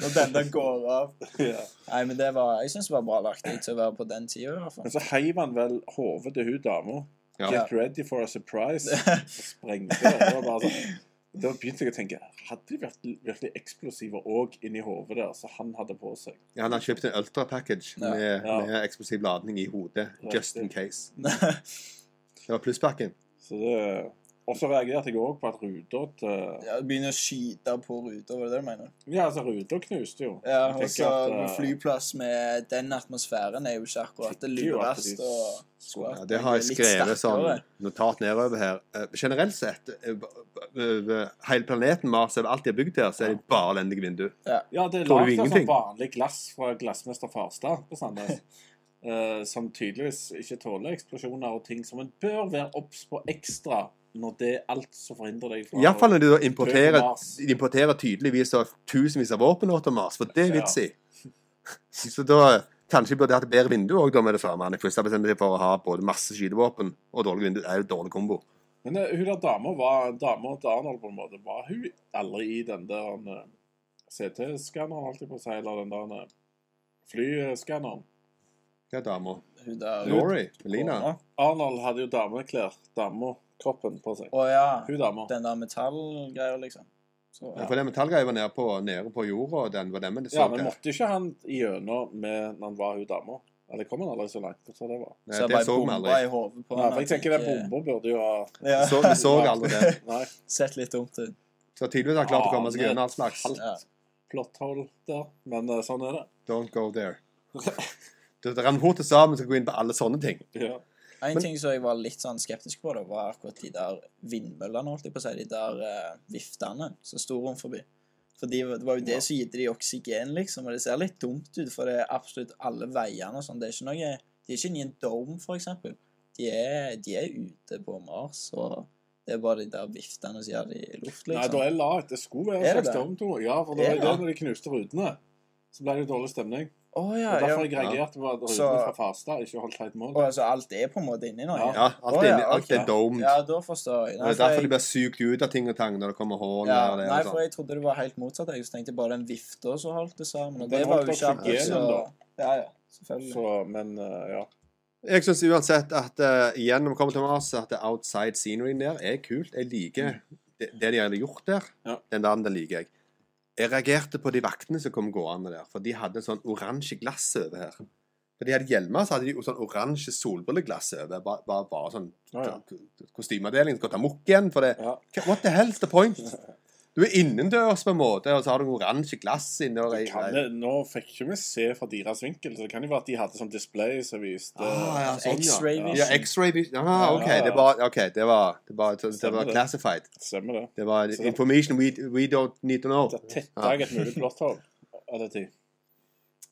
[SPEAKER 6] Når denne går av.
[SPEAKER 5] Ja.
[SPEAKER 6] Nei, men det var, jeg syns det var bra lagt jeg, til å være på den tida, i hvert
[SPEAKER 5] Men
[SPEAKER 6] fall.
[SPEAKER 5] så heiv han vel hodet til hun dama.
[SPEAKER 4] Ja.
[SPEAKER 5] Get ready for a surprise. Og sprengte. Det var bare sånn. Da begynte jeg å tenke Hadde de vært virkelig eksplosiver òg inni hodet der, så han hadde på seg?
[SPEAKER 4] Ja, Han har kjøpt en ultra package
[SPEAKER 6] Ja.
[SPEAKER 4] med,
[SPEAKER 5] Ja.
[SPEAKER 4] med eksplosiv ladning i hodet. Just in case. Det var plusspakken.
[SPEAKER 5] Så det Og så reagerte jeg òg på at ruta til
[SPEAKER 6] Ja, Begynne å skyte på ruter, var det det du mener?
[SPEAKER 5] Ja, altså, ruta knuste jo.
[SPEAKER 6] Ja,
[SPEAKER 5] Jeg
[SPEAKER 6] og
[SPEAKER 5] tenker
[SPEAKER 6] så
[SPEAKER 5] at, eh,
[SPEAKER 6] en flyplass med den atmosfæren er jo ikke akkurat det
[SPEAKER 5] tenker jo at de
[SPEAKER 6] lureste og skulle
[SPEAKER 4] Ja,
[SPEAKER 6] hatt
[SPEAKER 4] det har jeg
[SPEAKER 6] litt
[SPEAKER 4] skrevet sånn
[SPEAKER 6] sterkere.
[SPEAKER 4] notat nedover her. Eh, generelt sett, eh, b- b- b- hele planeten Mars er alt de har bygd her, så er det bare elendige vindu.
[SPEAKER 5] Ja, det er lagd
[SPEAKER 4] Tror du
[SPEAKER 5] av sånn
[SPEAKER 4] ingenting?
[SPEAKER 5] vanlig glass fra glassmester Farstad på Sandnes. eh, som tydeligvis ikke tåler eksplosjoner og ting som en bør være obs på ekstra når det er alt som forhindrer deg fra
[SPEAKER 4] Iallfall når de da
[SPEAKER 5] Døde
[SPEAKER 4] importerer,
[SPEAKER 5] Mars.
[SPEAKER 4] de importerer tydeligvis av tusenvis av våpen nå til Mars, for det er
[SPEAKER 5] Ja.
[SPEAKER 4] vits i. Så da kanskje de burde hatt et bedre vindu òg, da, med det samme. Han er først bestemt seg for å ha både masse skytevåpen og dårlig vindu. Det er jo en dårlig kombo.
[SPEAKER 5] Men eh, hun der dama var dama til Arnold, på en måte. Var hun aldri i den der eh, CT-skanneren, holdt jeg på å si, eller den der eh, flyskanneren?
[SPEAKER 4] Hva er dama?
[SPEAKER 6] Hun der
[SPEAKER 4] Laurie? Melina?
[SPEAKER 5] Arnold hadde jo dameklær. Dama. Kroppen på seg.
[SPEAKER 6] Å ja.
[SPEAKER 5] Hun dama.
[SPEAKER 6] Den der metallgreia, liksom. Så,
[SPEAKER 4] Ja, for den metallgreia var nede på, nede på jorda, og den var den vi så
[SPEAKER 5] Ja, men
[SPEAKER 4] til.
[SPEAKER 5] måtte ikke han igjennom med når han var hun dama? Eller kom han aldri så langt? Så det var.
[SPEAKER 4] Nei,
[SPEAKER 6] så jeg
[SPEAKER 4] det
[SPEAKER 6] bare
[SPEAKER 4] så vi
[SPEAKER 6] bomba
[SPEAKER 4] aldri.
[SPEAKER 6] i hodet på
[SPEAKER 5] Ja,
[SPEAKER 6] henne
[SPEAKER 5] for jeg
[SPEAKER 6] at
[SPEAKER 5] tenker den
[SPEAKER 6] ikke-
[SPEAKER 5] bomba burde jo ha
[SPEAKER 6] Ja,
[SPEAKER 4] Så, vi så aldri det.
[SPEAKER 5] Nei.
[SPEAKER 6] Sett litt dumt ut.
[SPEAKER 4] Så tydeligvis har han klart å komme seg
[SPEAKER 5] Aner
[SPEAKER 4] gjennom all slags.
[SPEAKER 6] Ja.
[SPEAKER 5] plotthold der, men eh, sånn er det.
[SPEAKER 4] Don't go there. Det det renner fort til sammen skal gå inn på alle sånne ting.
[SPEAKER 5] Ja.
[SPEAKER 6] En
[SPEAKER 4] Men-
[SPEAKER 6] ting som jeg var litt sånn skeptisk på, da, var akkurat de der vindmøllene, holdt jeg på å si. De der eh, viftene som sto rundt forbi. For de, det var jo det som gitt de oksygen, liksom. Og det ser litt dumt ut, for det er absolutt alle veiene og sånn. Det er ikke noe De er ikke i en dome, for eksempel. De er, de er ute på Mars, og det er bare de der viftene som gjør det i luft,
[SPEAKER 5] Nei,
[SPEAKER 6] liksom.
[SPEAKER 5] da er lavt. Det skulle være en
[SPEAKER 6] Er det
[SPEAKER 5] slags
[SPEAKER 6] det?
[SPEAKER 5] stormto. Ja, for det var
[SPEAKER 6] Er
[SPEAKER 5] jo det
[SPEAKER 6] det?
[SPEAKER 5] når de knuste rutene. Så ble det jo dårlig stemning.
[SPEAKER 6] Å
[SPEAKER 5] Det
[SPEAKER 6] ja.
[SPEAKER 5] var derfor
[SPEAKER 6] ja.
[SPEAKER 5] jeg reagerte på at rutene
[SPEAKER 6] Så-
[SPEAKER 5] fra Farstad ikke holdt helt mål.
[SPEAKER 6] Og altså, alt er på en måte inni nå?
[SPEAKER 5] Ja.
[SPEAKER 4] Ja, alt,
[SPEAKER 6] Å,
[SPEAKER 4] er
[SPEAKER 6] ja,
[SPEAKER 4] inni- alt
[SPEAKER 6] ok.
[SPEAKER 4] er domed.
[SPEAKER 6] Ja, da forstår jeg.
[SPEAKER 4] Det
[SPEAKER 6] Nei,
[SPEAKER 4] er
[SPEAKER 6] for
[SPEAKER 4] derfor
[SPEAKER 6] jeg,
[SPEAKER 4] de blir sugd ut av ting og tang når det kommer hull
[SPEAKER 6] ja,
[SPEAKER 4] og det
[SPEAKER 6] nei,
[SPEAKER 4] og
[SPEAKER 6] for
[SPEAKER 4] sånn.
[SPEAKER 6] jeg trodde det var helt motsatt. Jeg tenkte bare den vifta som holdt det sammen. Og
[SPEAKER 5] Den
[SPEAKER 6] det var
[SPEAKER 5] holdt
[SPEAKER 6] jo ikke akkurat
[SPEAKER 5] oksygenen,
[SPEAKER 6] så
[SPEAKER 5] da.
[SPEAKER 6] Ja, ja. Selvfølgelig.
[SPEAKER 5] Så, men eh, ja.
[SPEAKER 4] Jeg syns uansett at eh, igjen når vi kommer til Mars, at det outside sceneryen der er kult. Jeg liker det, det de har gjort der.
[SPEAKER 5] Mm. Ja.
[SPEAKER 4] Den der den liker jeg. Jeg reagerte på de vaktene som kom gående der, for de hadde sånn oransje glass over her. For de hadde hjelmer, så hadde de jo sånn oransje solbrilleglass over. Bare, bare, bare sånn
[SPEAKER 5] Å, ja.
[SPEAKER 4] kostymeavdelingen skal ta mukk igjen. For det
[SPEAKER 5] Ja.
[SPEAKER 4] Hva- What the hell's the point? Du er innendørs på en måte, og så har du oransje glass inni der.
[SPEAKER 5] Det Kan, det- nå fikk ikke vi se fra deres vinkel, så det kan jo være at de hadde sånn display som viste
[SPEAKER 4] Ah, ja, sånn, ja.
[SPEAKER 6] X-ray
[SPEAKER 4] Ja,
[SPEAKER 6] vision.
[SPEAKER 4] X-ray vision. Ah, OK.
[SPEAKER 5] altså. Ja, ja, ja.
[SPEAKER 4] Det var, ok, det var, det var, det
[SPEAKER 5] Stemmer
[SPEAKER 4] var
[SPEAKER 5] det.
[SPEAKER 4] classified.
[SPEAKER 5] Stemmer det.
[SPEAKER 4] Det var
[SPEAKER 5] Så-
[SPEAKER 4] information we, we don't need to know.
[SPEAKER 5] Det tetta jeg et mulig plotthold av den tid.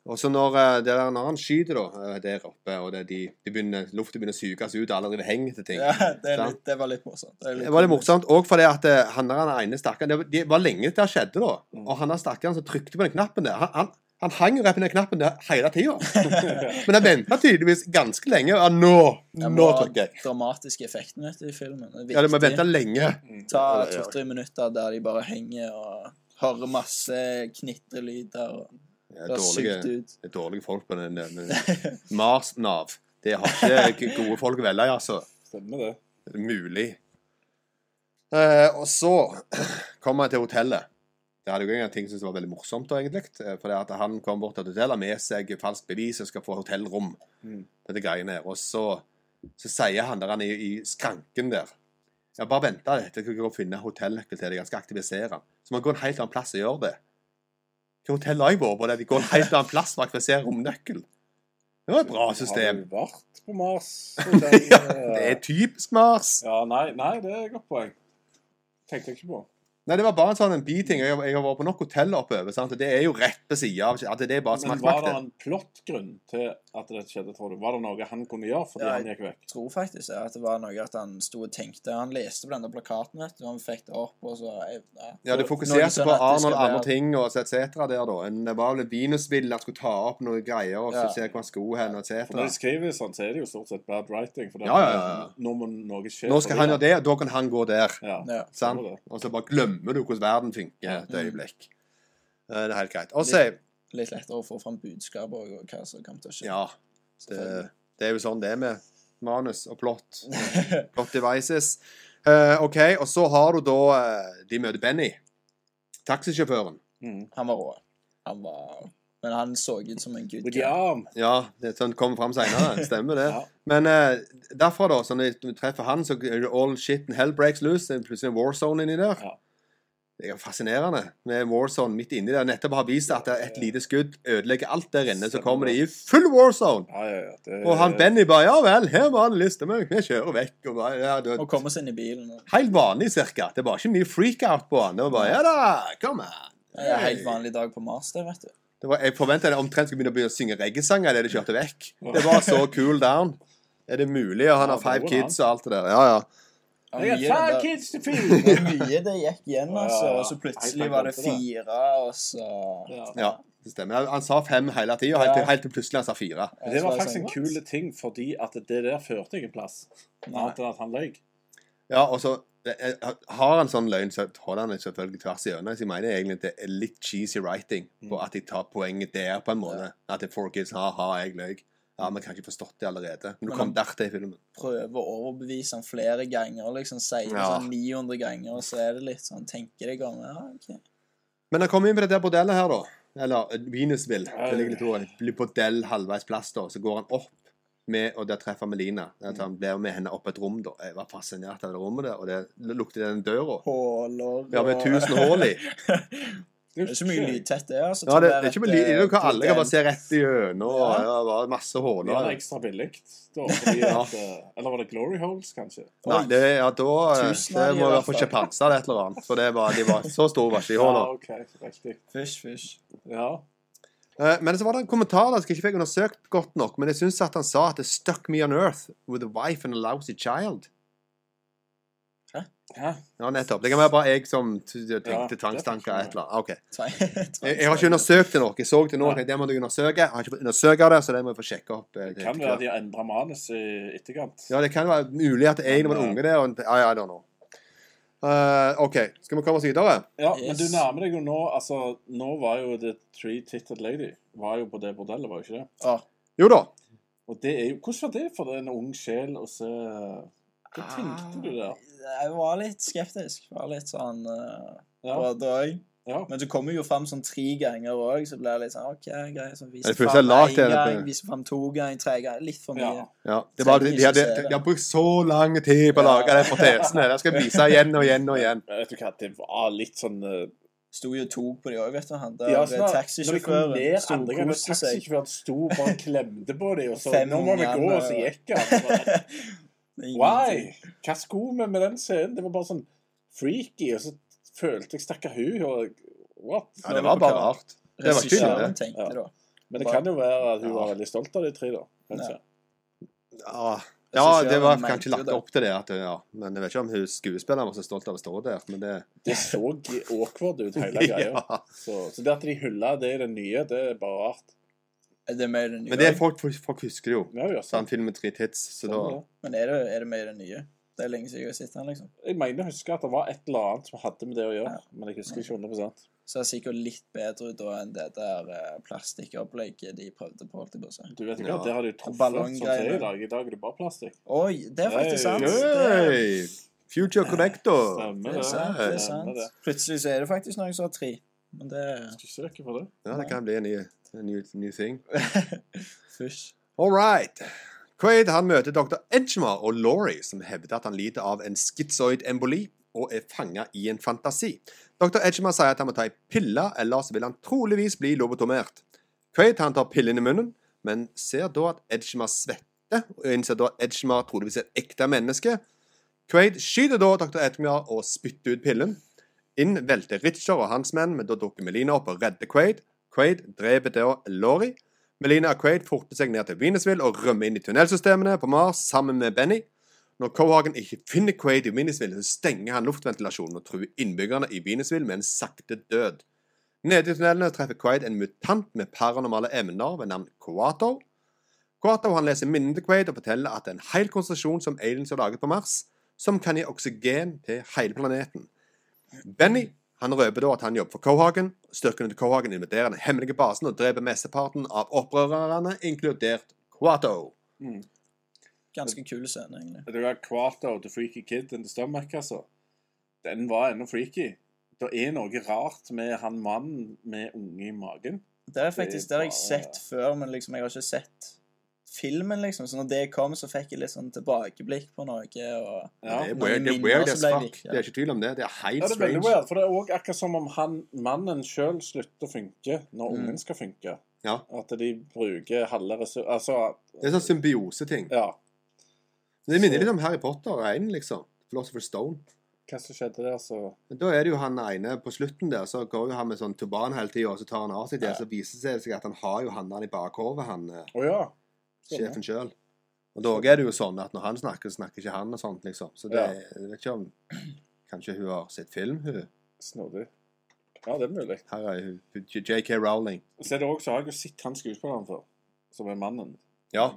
[SPEAKER 4] Og så når eh, det der når han skyter da, eh, der oppe, og det, de, de begynner, luften begynner å suges ut, og alle driver og henger til ting
[SPEAKER 6] Ja, det, er
[SPEAKER 4] Sant?
[SPEAKER 6] litt, det var litt sånn. morsomt. er
[SPEAKER 4] Det var litt morsomt òg fordi at eh, han der han ene stakkaren Det var- det var lenge til det skjedde, da.
[SPEAKER 6] Mm.
[SPEAKER 4] Og han der stakkaren som trykte på den knappen der, han, han, han hang jo rett på den knappen der hele tida. Men han venta tydeligvis ganske lenge. Og nå,
[SPEAKER 6] Det
[SPEAKER 4] nå
[SPEAKER 6] var
[SPEAKER 4] trykker jeg.
[SPEAKER 6] dramatiske effekten vet du, i filmen. Det
[SPEAKER 4] Ja,
[SPEAKER 6] er
[SPEAKER 4] du må vente
[SPEAKER 6] viktig.
[SPEAKER 4] lenge.
[SPEAKER 6] Ta to-tre minutter der de bare henger og hører masse knitrelyder og
[SPEAKER 4] Det er
[SPEAKER 6] det er sykt
[SPEAKER 4] dårlige,
[SPEAKER 6] ut.
[SPEAKER 4] det er dårlige folk på den, den, den Mars-Nav. Det har ikke gode folk å velge i, altså.
[SPEAKER 5] Stemmer det.
[SPEAKER 4] Det er Mulig. Eh, og så kom jeg til hotellet. Det hadde jo en ting som var veldig morsomt, da, egentlig. eh, For det at han kom bort til et hotell, har med seg falskt bevis og skal få hotellrom.
[SPEAKER 5] Mm.
[SPEAKER 4] Dette greiene her. Og så, så sier han der han er i, i skranken der Ja, bare vent da, til jeg går og finner hotellnøkkel til deg. Jeg skal aktivisere den. Så man går en helt annen plass og gjør det. Hvilket hotell har jeg vært på der de går en helt annen plass for å aktivisere romnøkkel? Det var et bra system.
[SPEAKER 5] Har du vært på Mars?
[SPEAKER 4] Ja, det er typisk Mars.
[SPEAKER 5] Ja, nei, nei, det er et godt poeng. Tenkte jeg ikke på.
[SPEAKER 4] Nei, det var bare en sånn en biting. Jeg, jeg har vært på nok hoteller oppover. sant? Og Det er jo rett ved sida av at det er bare
[SPEAKER 5] Men var det
[SPEAKER 4] smaktmakten.
[SPEAKER 5] en plottgrunn til at det skjedde, tror du? Var det noe han kunne gjøre fordi
[SPEAKER 6] Ja,
[SPEAKER 5] han gikk vekk?
[SPEAKER 6] Jeg tror faktisk at det var noe at han sto og tenkte. Han leste på denne plakaten, vet du, og han fikk det opp, og så ja.
[SPEAKER 4] Ja, det
[SPEAKER 6] Noen
[SPEAKER 4] fokuserte
[SPEAKER 6] sånn
[SPEAKER 4] på
[SPEAKER 6] at det skal
[SPEAKER 4] Arnold og andre
[SPEAKER 6] være-
[SPEAKER 4] ting og så et cetera der, da. En, det var vel Venusville han skulle ta opp noen greier, og så
[SPEAKER 6] Ja.
[SPEAKER 4] se hvor han skulle hen, og et
[SPEAKER 5] For Når
[SPEAKER 4] cetera.
[SPEAKER 5] de skriver sånn, så er det jo stort sett bad writing. For det
[SPEAKER 4] Ja, ja, ja, ja.
[SPEAKER 5] Nå må noe skje.
[SPEAKER 4] Nå skal
[SPEAKER 5] fordi
[SPEAKER 4] han gjøre det, og da kan han gå der.
[SPEAKER 5] Ja.
[SPEAKER 6] Ja.
[SPEAKER 4] Sant?
[SPEAKER 5] det.
[SPEAKER 4] Og så bare glemmer du hvordan verden funker et
[SPEAKER 6] Mm.
[SPEAKER 4] øyeblikk. Eh, Det er helt greit. Og så
[SPEAKER 6] litt lettere å få fram budskap og, og hva som kommer til å skje.
[SPEAKER 4] Ja. Det,
[SPEAKER 6] selvfølgelig.
[SPEAKER 4] det er jo sånn det er med manus og plot. Plot devices. Eh, OK, og så har du da eh, De møter Benny. Taxisjåføren.
[SPEAKER 5] Mm.
[SPEAKER 6] Han var rå. Han var Men han så ut som en gud.
[SPEAKER 5] With the arm.
[SPEAKER 4] Ja, det er sånn kommer fram seinere. Stemmer det.
[SPEAKER 5] Ja.
[SPEAKER 4] Men eh, derfra, da, så når du treffer han, så er det all shit and hell breaks loose. Det er plutselig en war zone inni der.
[SPEAKER 5] Ja.
[SPEAKER 4] Det er jo fascinerende med en war zone midt inni der. Nettopp har vist at det er et lite skudd ødelegger alt der inne. Så
[SPEAKER 5] Stemmer
[SPEAKER 4] kommer
[SPEAKER 5] det.
[SPEAKER 4] de i full war zone.
[SPEAKER 5] Ja, ja, ja. Det,
[SPEAKER 4] Og han Benny bare Ja vel, her var det liste, men vi kjører vekk. Og bare, ja, det,
[SPEAKER 6] Og kom oss inn i bilen. Og,
[SPEAKER 4] Helt vanlig, cirka. Det var ikke mye freak-out på han. Det var bare Ja da, kom an.
[SPEAKER 6] det er en helt vanlig dag på Mars, det, vet du.
[SPEAKER 4] Det var, jeg forventa det omtrent skulle begynne å begynne å synge reggaesanger idet de kjørte vekk. Det var så cool down. Er det mulig? Og han
[SPEAKER 5] Ja,
[SPEAKER 4] har five
[SPEAKER 5] det var
[SPEAKER 4] kids og alt det der. Ja, ja.
[SPEAKER 6] Ja,
[SPEAKER 5] I got
[SPEAKER 6] mye,
[SPEAKER 5] five
[SPEAKER 6] det der,
[SPEAKER 5] kids to feed!
[SPEAKER 6] det var mye det gikk
[SPEAKER 5] Ja,
[SPEAKER 6] igjen,
[SPEAKER 5] ja,
[SPEAKER 6] altså.
[SPEAKER 5] ja.
[SPEAKER 6] Og så plutselig
[SPEAKER 5] Helt
[SPEAKER 6] var det
[SPEAKER 5] sant,
[SPEAKER 6] fire, og så
[SPEAKER 5] Ja.
[SPEAKER 4] ja det stemmer. Han- Han sa fem hele tida, helt,
[SPEAKER 6] Ja.
[SPEAKER 4] til- helt til plutselig han sa fire.
[SPEAKER 5] Men Det
[SPEAKER 6] så
[SPEAKER 5] var
[SPEAKER 6] jeg
[SPEAKER 5] faktisk en
[SPEAKER 6] sånn,
[SPEAKER 5] kul ting, fordi at det der førte ingen plass.
[SPEAKER 6] Nei.
[SPEAKER 5] Annet enn at han løy.
[SPEAKER 4] Ja, og så eh, Har han sånn løgn, så holder han det selvfølgelig tvers igjennom. Så jeg mener egentlig at det er litt cheesy writing på at de tar poenget der, på en måte. At det er four kids, ha-ha, sånn, jeg løy. Ja, vi kan ikke forstått det allerede. Men du
[SPEAKER 6] Men
[SPEAKER 4] kom
[SPEAKER 6] han-
[SPEAKER 4] der til i filmen.
[SPEAKER 6] prøver å overbevise han flere ganger, liksom sier det
[SPEAKER 4] Ja.
[SPEAKER 6] sånn 900 ganger, og så er det litt sånn Tenker deg om ja, ok.
[SPEAKER 4] Men han kom inn på det der bordellet her, da. Eller eh, Venusville.
[SPEAKER 5] Ja,
[SPEAKER 4] Det ligger litt
[SPEAKER 5] ja.
[SPEAKER 4] over. Blir bordell halvveis plass, da. Så går han opp, med, og der treffer han Melina. At han blir med henne opp et rom, da. Jeg var fascinert av det rommet der, og det lukter den døra.
[SPEAKER 6] Håler
[SPEAKER 4] Ja, med tusen hull i.
[SPEAKER 6] Det er ikke mye lydtett, det. altså.
[SPEAKER 4] Ja, det,
[SPEAKER 6] tror
[SPEAKER 4] det er ikke
[SPEAKER 6] at,
[SPEAKER 4] med lyd.
[SPEAKER 6] eh,
[SPEAKER 4] Det er jo hva Alle kan bare se rett igjennom. og
[SPEAKER 6] Ja.
[SPEAKER 4] ja, det var masse
[SPEAKER 5] De har det
[SPEAKER 4] huller.
[SPEAKER 5] ekstra billig. Da, fordi
[SPEAKER 4] Ja.
[SPEAKER 5] at, eh, eller var det Glory Holes, kanskje?
[SPEAKER 4] Nei, det, ja, da eh,
[SPEAKER 6] Tusen
[SPEAKER 4] det
[SPEAKER 6] av de
[SPEAKER 4] må
[SPEAKER 6] i
[SPEAKER 4] i
[SPEAKER 6] hvert
[SPEAKER 4] hvert fall
[SPEAKER 6] fall.
[SPEAKER 4] sjimpanse eller et eller annet. For det var, de var så store var ikke de
[SPEAKER 5] Ja,
[SPEAKER 4] hullene.
[SPEAKER 5] ok, riktig.
[SPEAKER 6] Fysj, fysj.
[SPEAKER 5] Ja.
[SPEAKER 4] Eh, Men så var det en kommentar da, som jeg ikke fikk undersøkt godt nok, men jeg syns at han sa at det 'stuck me on earth with a wife and a lousy child'.
[SPEAKER 5] Hæ?
[SPEAKER 4] Ja, nettopp. Det kan være bare jeg som t-
[SPEAKER 5] Ja, det
[SPEAKER 4] tenkte tvangstanker
[SPEAKER 5] forstår jeg.
[SPEAKER 4] et eller annet. Ok.
[SPEAKER 6] Tvang-
[SPEAKER 4] Jeg, jeg har ikke undersøkt det nok. Jeg så det nå,
[SPEAKER 5] Ja.
[SPEAKER 4] tenkte, det må du undersøke. Jeg har ikke fått undersøke det, så det må jeg få sjekke opp. eh,
[SPEAKER 5] Det kan
[SPEAKER 4] etter
[SPEAKER 5] være
[SPEAKER 4] hvert.
[SPEAKER 5] de har endra manus i etterkant.
[SPEAKER 4] Ja, det kan være mulig at jeg var en unge der. Og, I, I don't know. Eh, OK, skal vi komme oss videre?
[SPEAKER 5] Ja,
[SPEAKER 6] Yes.
[SPEAKER 5] men du nærmer deg jo nå Altså, nå var jo The Three Titted Lady Var jo på det bordellet, var jo ikke det?
[SPEAKER 6] Ja.
[SPEAKER 4] Jo da.
[SPEAKER 5] Og det er jo Hvordan var det for en ung sjel å se
[SPEAKER 6] Ah.
[SPEAKER 5] Hva tenkte du der?
[SPEAKER 6] Jeg var litt skeptisk. Var litt sånn eh,
[SPEAKER 5] Ja,
[SPEAKER 6] både og.
[SPEAKER 5] ja.
[SPEAKER 6] Men du kommer jo fram sånn tre ganger òg, så blir det litt sånn OK, greit. Så
[SPEAKER 4] Jeg
[SPEAKER 6] viser
[SPEAKER 4] føler
[SPEAKER 6] frem
[SPEAKER 4] seg lat
[SPEAKER 6] en
[SPEAKER 4] i det,
[SPEAKER 6] gang,
[SPEAKER 4] men-
[SPEAKER 6] viser frem to ganger, tre ganger. Litt for
[SPEAKER 5] ja.
[SPEAKER 6] mye.
[SPEAKER 4] Ja, det var, de, de, hadde, de har brukt så lang tid på å lage de protesene. Jeg skal vise igjen og igjen og igjen.
[SPEAKER 5] Men Vet du hva, det var litt sånn eh,
[SPEAKER 6] Sto jo tog på de òg, vet du. Han der
[SPEAKER 5] ja,
[SPEAKER 6] eh,
[SPEAKER 5] sånn at Når de kom
[SPEAKER 6] taxisjåføren
[SPEAKER 5] ned andre gangen,
[SPEAKER 6] storkoste seg.
[SPEAKER 5] taxisjåføren sto bare og klemte på dem, og så
[SPEAKER 6] Fem
[SPEAKER 5] Nå må vi
[SPEAKER 6] unger
[SPEAKER 5] gå, og så
[SPEAKER 6] med-
[SPEAKER 5] gikk han. Så bare, Why?
[SPEAKER 6] Ingenting.
[SPEAKER 5] Hva skulle vi med den scenen? Det var bare sånn freaky, og så følte jeg stakkar hun, og what?
[SPEAKER 4] Ja, det var bare rart. Det var tydelig,
[SPEAKER 6] Regissøren
[SPEAKER 4] det.
[SPEAKER 6] tenkte
[SPEAKER 5] Ja.
[SPEAKER 6] da.
[SPEAKER 5] Men det kan jo være at hun
[SPEAKER 4] Ja.
[SPEAKER 5] var veldig stolt av de tre, da. kanskje.
[SPEAKER 6] Ja.
[SPEAKER 4] Ja, ja det var kanskje lagt opp til det. At, ja. Men jeg vet ikke om hun skuespilleren var så stolt av å stå der. Men det
[SPEAKER 5] Det så g- awkward ut, hele greia.
[SPEAKER 4] ja.
[SPEAKER 5] så, så det at de hyller det i det nye, det er bare rart.
[SPEAKER 6] Er det med i det nye?
[SPEAKER 4] Men det er folk, folk husker det jo.
[SPEAKER 5] Ja, ja,
[SPEAKER 4] Så han
[SPEAKER 5] sant.
[SPEAKER 4] filmer tre tits, så da
[SPEAKER 5] Sånn,
[SPEAKER 6] Men er det, er det med i det nye? Det er lenge siden jeg har sett den, liksom.
[SPEAKER 5] ja. Jeg mener jeg husker at det var et eller annet som hadde med det å gjøre,
[SPEAKER 6] Ja.
[SPEAKER 5] men jeg husker ikke 100
[SPEAKER 6] Så det er sikkert litt bedre ut da enn det der eh, plastikkopplegget de prøvde på. holdt jeg på å si.
[SPEAKER 5] Du vet ikke,
[SPEAKER 4] Ja.
[SPEAKER 5] at der har du truffet sånn
[SPEAKER 6] Ballonggreier.
[SPEAKER 5] som det er i dag. I dag er det bare plastikk.
[SPEAKER 6] Oi, det er faktisk sant! Det,
[SPEAKER 4] Hey, Future Connector!
[SPEAKER 6] det
[SPEAKER 5] Stemmer
[SPEAKER 6] er
[SPEAKER 5] det.
[SPEAKER 6] sant, det er
[SPEAKER 5] Stemmer
[SPEAKER 6] sant.
[SPEAKER 5] det.
[SPEAKER 6] Plutselig så er det faktisk noen som har tre. Men det er
[SPEAKER 5] Skal ikke søke på det.
[SPEAKER 4] Ja, det kan bli en ny, en ny, ny ting.
[SPEAKER 6] Fysj.
[SPEAKER 4] All right. Quaid han møter dr. Edgemar og Laurie, som hevder at han lider av en schizoid emboli og er fanga i en fantasi. Dr. Edgemar sier at han må ta ei pille, ellers vil han troligvis bli lobotomert. Quaid han tar pillen i munnen, men ser da at Edgemar svetter, og innser da at Edgemar troligvis er et ekte menneske. Quaid skyter da dr. Edgemar og spytter ut pillen. Inn velter Ritcher og hans menn, men da dukker Melina opp og redder Quaid. Quaid dreper da Laurie. Melina og Quaid forter seg ned til Venusville og rømmer inn i tunnelsystemene på Mars sammen med Benny. Når Cohagen ikke finner Quaid i Venusville, så stenger han luftventilasjonen og truer innbyggerne i Venusville med en sakte død. Nede i tunnelene treffer Quaid en mutant med paranormale evner ved navn Coato. Coato han leser minnene til Quaid og forteller at det er en hel konsentrasjon som aliens har laget på Mars, som kan gi oksygen til hele planeten. Benny han røper da at han jobber for Cohagen. Styrkene til Cohagen invaderer den hemmelige basen og dreper mesteparten av opprørerne, inkludert Quato.
[SPEAKER 6] Ganske kul scene, egentlig.
[SPEAKER 5] Det var Quarto til Freaky Kid in the Stomach, altså. Den var ennå freaky. Det er noe rart med han mannen med unge i magen.
[SPEAKER 6] Det er faktisk det har jeg
[SPEAKER 5] bare-
[SPEAKER 6] sett før, men liksom jeg har ikke sett filmen, liksom. Så når det kom, så fikk jeg litt sånn tilbakeblikk på noe. og...
[SPEAKER 5] Ja.
[SPEAKER 4] det er
[SPEAKER 6] noen
[SPEAKER 4] weird, det er
[SPEAKER 6] minner
[SPEAKER 4] weird
[SPEAKER 6] som
[SPEAKER 4] as
[SPEAKER 6] ble
[SPEAKER 4] fuck.
[SPEAKER 6] vekk, ja.
[SPEAKER 4] Det er ikke tvil om det. Det er helt
[SPEAKER 5] Ja, det er veldig
[SPEAKER 4] strange.
[SPEAKER 5] weird, for det er òg akkurat som om han, mannen sjøl slutter å funke når
[SPEAKER 6] Mm.
[SPEAKER 5] ungen skal funke.
[SPEAKER 4] Ja.
[SPEAKER 5] At de bruker halve ressurser Altså,
[SPEAKER 4] Det er sånn symbioseting.
[SPEAKER 5] ja.
[SPEAKER 4] Det minner litt om Harry Potter og Einen, liksom. Philosopher Stone.
[SPEAKER 5] Hva som skjedde der, så
[SPEAKER 4] Men da er det jo han ene på slutten der, så går jo han med sånn turban hele tida, og så tar han av seg det, så viser det seg at han har jo han der i bakhovet, han eh,
[SPEAKER 5] Å Sånn, ja. Stemmer.
[SPEAKER 4] sjefen sjøl. Og da er det jo sånn at når han snakker, så snakker ikke han og sånt, liksom. Så det
[SPEAKER 5] Ja.
[SPEAKER 4] jeg vet ikke om Kanskje hun har sett film, hun.
[SPEAKER 5] Snodig. Ja, det er mulig.
[SPEAKER 4] Her er hun. JK Rowling.
[SPEAKER 5] Så er det også, så har jeg jo sett han skuespilleren før, som er mannen.
[SPEAKER 4] Ja,